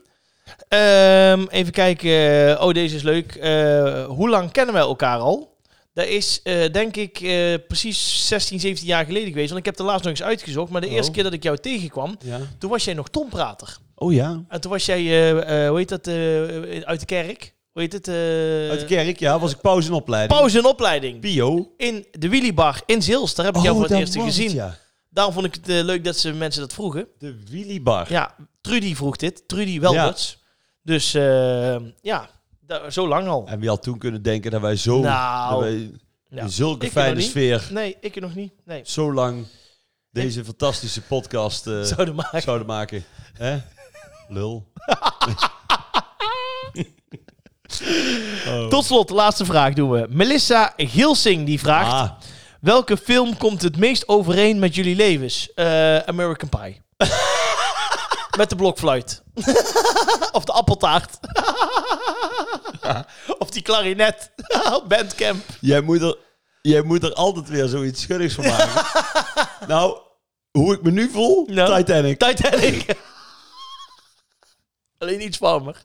Speaker 1: Ehm, even kijken. Oh, deze is leuk. Eh, hoe lang kennen wij elkaar al? Dat is eh, denk ik eh, precies 16, 17 jaar geleden geweest. Want ik heb de laatst nog eens uitgezocht. Maar de eerste keer dat ik jou tegenkwam,
Speaker 2: Ja.
Speaker 1: toen was jij nog tonprater.
Speaker 2: Oh ja.
Speaker 1: En toen was jij, eh, eh, hoe heet dat, eh, uit de kerk? Hoe hoe heet het? eh,
Speaker 2: Uit de kerk, ja, was ik pauze in opleiding.
Speaker 1: pauze en opleiding.
Speaker 2: Bio.
Speaker 1: In de Willybar in Zils. Daar heb ik jou voor het
Speaker 2: daar
Speaker 1: eerst
Speaker 2: Oh, was het,
Speaker 1: gezien.
Speaker 2: ja.
Speaker 1: Daarom vond ik het eh, leuk dat ze mensen dat vroegen.
Speaker 2: De Willybar.
Speaker 1: Ja, Trudy vroeg dit. Trudy Welberts. Dus eh, ja, da- zo lang al.
Speaker 2: En wie had toen kunnen denken dat wij zo...
Speaker 1: Nou.
Speaker 2: dat wij
Speaker 1: Ja.
Speaker 2: in zulke
Speaker 1: Ik nog
Speaker 2: fijne
Speaker 1: niet.
Speaker 2: sfeer
Speaker 1: Nee, ik nog niet. Nee.
Speaker 2: zo lang deze fantastische podcast eh,
Speaker 1: Zouden maken.
Speaker 2: zouden maken. Hè? Lul. Oh.
Speaker 1: Tot slot, de laatste vraag doen we. Melissa Gilsing die vraagt...
Speaker 2: Ah,
Speaker 1: Welke film komt het meest overeen met jullie levens? Eh, American Pie. met de blokfluit. of de appeltaart. of die klarinet. Bandcamp.
Speaker 2: jij, moet er, jij moet er altijd weer zoiets schuddigs van maken. nou, hoe ik me nu voel?
Speaker 1: Nou.
Speaker 2: Titanic.
Speaker 1: Titanic. Alleen iets warmer.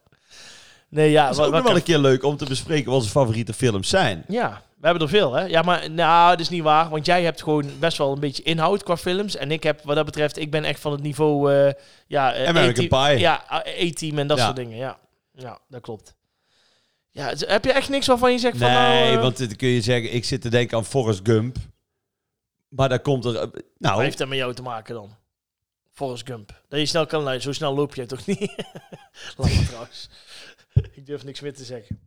Speaker 1: Nee, ja.
Speaker 2: Dat is ook
Speaker 1: wa-
Speaker 2: nog wel
Speaker 1: wa-
Speaker 2: een keer leuk om te bespreken wat onze favoriete films zijn.
Speaker 1: Ja, we hebben er veel, hè? Ja, maar nou, dat is niet waar. Want jij hebt gewoon best wel een beetje inhoud qua films. En ik heb, wat dat betreft, ik ben echt van het niveau... eh, ja, eh,
Speaker 2: American
Speaker 1: A-team-
Speaker 2: Pie.
Speaker 1: Ja, eh, A-team en dat
Speaker 2: Ja.
Speaker 1: soort dingen, ja. Ja, dat klopt. Ja, het- heb je echt niks waarvan je zegt van... nou,
Speaker 2: Nee,
Speaker 1: eh,
Speaker 2: want dan kun je zeggen, ik zit te denken aan Forrest Gump. Maar daar komt er... eh,
Speaker 1: Wat
Speaker 2: Nou,
Speaker 1: heeft dat met jou te maken dan? Forrest Gump. Dat je snel kan luisteren. Zo snel loop jij toch niet? Laat me trouwens. ik durf niks meer te zeggen.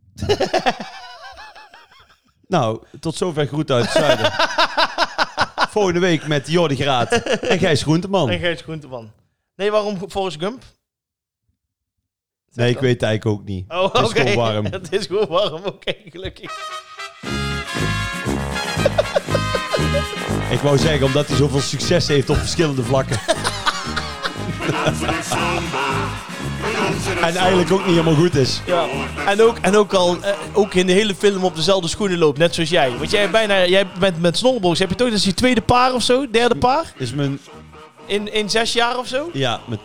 Speaker 2: nou, tot zover groet uit het zuiden. Volgende week met Jordi Graat en Gijs
Speaker 1: En
Speaker 2: Groenteman.
Speaker 1: Gijs Groenteman. Nee, waarom Forrest Gump?
Speaker 2: Nee, ik weet het eigenlijk ook niet.
Speaker 1: Oh, oké.
Speaker 2: Het is gewoon warm.
Speaker 1: Het is gewoon warm, oké, gelukkig.
Speaker 2: Ik wou zeggen, omdat hij zoveel succes heeft op verschillende vlakken. en eigenlijk ook niet helemaal goed is.
Speaker 1: Ja. En, ook, en ook al eh, ook in de hele film op dezelfde schoenen loopt, net zoals jij. Want jij, bijna, jij bent met snowballs, heb je toch, dat is je tweede paar of zo, derde paar?
Speaker 2: Is mijn...
Speaker 1: In, in zes jaar of zo?
Speaker 2: Ja, mijn...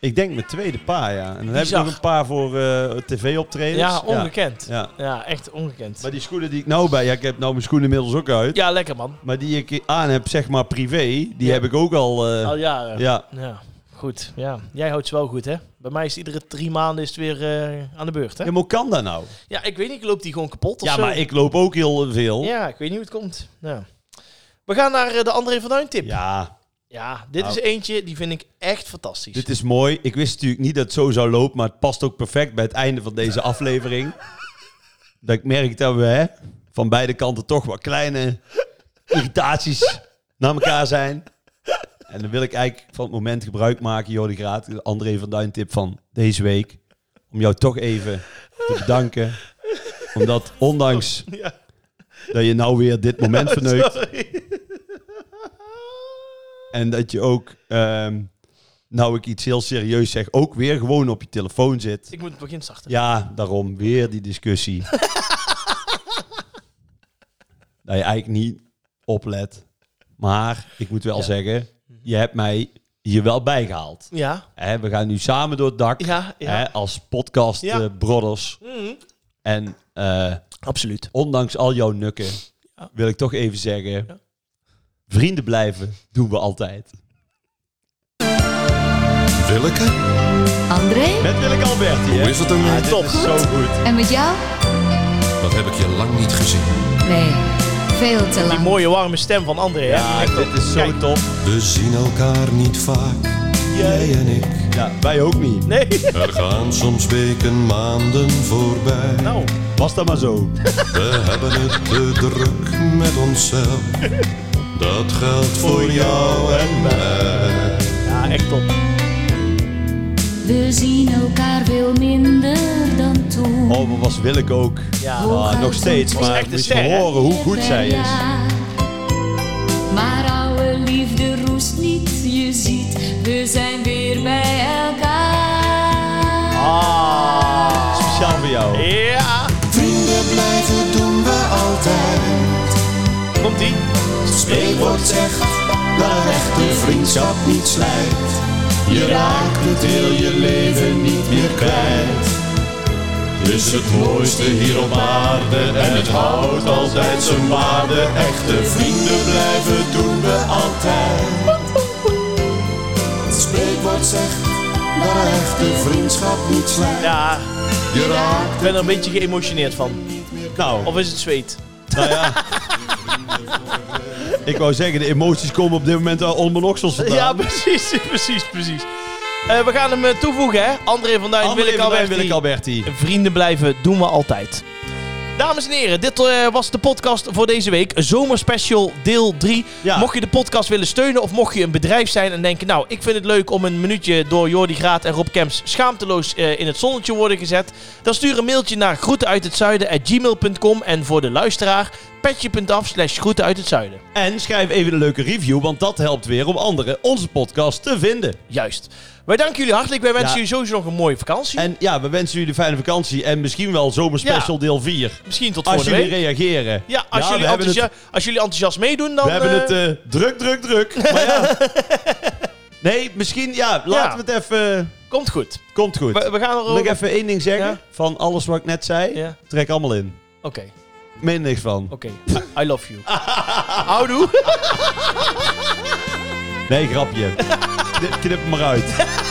Speaker 2: Ik denk mijn tweede paar, ja. En dan heb ik
Speaker 1: Bizar.
Speaker 2: nog een paar voor eh, tv-optredens.
Speaker 1: Ja, ongekend. Ja,
Speaker 2: Ja.
Speaker 1: echt ongekend.
Speaker 2: Maar die schoenen die ik nou bij... Ja, ik heb nou mijn schoenen inmiddels ook uit.
Speaker 1: Ja, lekker man.
Speaker 2: Maar die ik aan heb, zeg maar privé, die heb ik ook al... eh,
Speaker 1: Al jaren.
Speaker 2: ja.
Speaker 1: Ja, Goed, ja. Jij houdt ze wel goed, hè? Bij mij is het iedere drie maanden is het weer eh, aan de beurt, hè?
Speaker 2: Ja, maar hoe kan dat nou?
Speaker 1: Ja, ik weet niet, loopt die gewoon kapot of
Speaker 2: Ja,
Speaker 1: zo?
Speaker 2: maar ik loop ook heel veel. Ja,
Speaker 1: Ja, ik weet niet hoe het komt. Ja. We gaan naar eh, de André van Duin tip. Ja, dit
Speaker 2: Nou.
Speaker 1: is eentje die vind ik echt fantastisch.
Speaker 2: dit is mooi. Ik wist natuurlijk niet dat het zo zou lopen, maar het past ook perfect bij het einde van deze aflevering. dat ik merk dat we hè, van beide kanten toch wat kleine irritaties naar elkaar zijn. En dan wil ik eigenlijk van het moment gebruik maken, Jordi Graat, de André van Duin tip van deze week. Om jou toch even te bedanken. Omdat ondanks
Speaker 1: Ja.
Speaker 2: dat je nou weer dit moment verneukt.
Speaker 1: Sorry.
Speaker 2: En dat je ook, ehm, nou ik iets heel serieus zeg, ook weer gewoon op je telefoon zit.
Speaker 1: Ik moet het begin zachter.
Speaker 2: Ja, daarom weer die discussie. dat je eigenlijk niet oplet. Maar ik moet wel zeggen, je hebt mij hier wel bijgehaald.
Speaker 1: Ja.
Speaker 2: Hè, we gaan nu samen door het dak
Speaker 1: Ja, ja.
Speaker 2: hè, als podcast
Speaker 1: Ja.
Speaker 2: eh, brothers. En eh,
Speaker 1: Absoluut.
Speaker 2: ondanks al jouw nukken wil ik toch even zeggen, vrienden blijven doen we altijd.
Speaker 6: Willeke?
Speaker 11: André,
Speaker 2: Met Willeke Alberti, hè?
Speaker 6: Hoe is het ermee?
Speaker 2: Ah, top. Zo goed.
Speaker 11: en met jou?
Speaker 6: Dat heb ik je lang niet gezien.
Speaker 11: Nee, veel te
Speaker 1: Die
Speaker 11: lang.
Speaker 1: mooie warme stem van André.
Speaker 2: Ja,
Speaker 1: hè? Die
Speaker 2: Ah, dit is zo
Speaker 1: Kijk.
Speaker 2: top.
Speaker 6: We zien elkaar niet vaak, jij en ik.
Speaker 2: Ja, wij ook niet.
Speaker 1: Nee.
Speaker 6: Er gaan soms weken, maanden voorbij.
Speaker 1: Nou.
Speaker 2: Was dat maar zo.
Speaker 6: We hebben het te druk met onszelf. Dat geldt voor jou en mij.
Speaker 1: Ja, echt top.
Speaker 8: We zien elkaar veel minder dan toen.
Speaker 2: Oh, maar was Willeke ook.
Speaker 1: Ja.
Speaker 2: Ah, nog steeds,
Speaker 8: Dat was
Speaker 2: maar
Speaker 1: echt een
Speaker 2: moet je
Speaker 1: ster, hè?
Speaker 2: horen hoe goed zij
Speaker 8: Ja,
Speaker 2: is.
Speaker 8: Maar oude liefde roest niet, je ziet, we zijn weer bij elkaar.
Speaker 1: Ah.
Speaker 2: Speciaal voor jou.
Speaker 1: Ja.
Speaker 6: Vrienden blijven doen we altijd.
Speaker 1: Komt ie.
Speaker 6: Spreekwoord zegt dat een echte vriendschap niet slijt. Je raakt het heel je leven niet meer kwijt. Het Is het mooiste hier op aarde en het houdt altijd zijn waarde. Echte vrienden blijven doen we altijd. Het spreekwoord zegt waar echte vriendschap niet slijt.
Speaker 1: Ja,
Speaker 6: Je raakt
Speaker 1: ik ben er een beetje geëmotioneerd van.
Speaker 2: Nou.
Speaker 1: Of is het zweet?
Speaker 2: Nou ja. Ik wou zeggen, de emoties komen op dit moment uit onmonoxels vandaan.
Speaker 1: Ja, precies, precies, precies. Eh, we gaan hem eh, toevoegen, hè? André van Duin,
Speaker 2: André
Speaker 1: Willeke
Speaker 2: van Duin,
Speaker 1: Alberti.
Speaker 2: Willeke Alberti.
Speaker 1: Vrienden blijven, doen we altijd. Dames en heren, dit eh, was de podcast voor deze week. Zomerspecial deel 3. Mocht je de podcast willen steunen of mocht je een bedrijf zijn en denken... nou, ik vind het leuk om een minuutje door Jordi Graat en Rob Kemps... schaamteloos eh, in het zonnetje worden gezet... dan stuur een mailtje naar groetenuithetzuiden.gmail.com... en voor de luisteraar petje.af slash groeten uit het zuiden.
Speaker 2: En schrijf even een leuke review, want dat helpt weer om anderen onze podcast te vinden.
Speaker 1: Juist. Wij danken jullie hartelijk. Wij wensen
Speaker 2: Ja.
Speaker 1: jullie sowieso nog een mooie vakantie.
Speaker 2: En ja, we wensen jullie een fijne vakantie en misschien wel zomerspecial
Speaker 1: Ja.
Speaker 2: deel 4.
Speaker 1: Misschien tot
Speaker 2: Als
Speaker 1: volgende
Speaker 2: jullie
Speaker 1: week.
Speaker 2: reageren.
Speaker 1: Ja, als,
Speaker 2: we
Speaker 1: jullie
Speaker 2: hebben het-
Speaker 1: enthousia- als jullie enthousiast meedoen, dan...
Speaker 2: we hebben
Speaker 1: eh,
Speaker 2: het eh, druk, druk, druk. Maar ja. Nee, misschien, ja, laten we het even...
Speaker 1: Komt goed.
Speaker 2: Komt goed.
Speaker 1: We- we gaan erover-
Speaker 2: Wil ik even één ding zeggen?
Speaker 1: Ja.
Speaker 2: Van alles wat ik net zei,
Speaker 1: Ja.
Speaker 2: trek allemaal in.
Speaker 1: Oké,
Speaker 2: Meen er niks van.
Speaker 1: oké. I love you. Houdoe.
Speaker 2: Nee, grapje. Knip- Knip hem maar uit.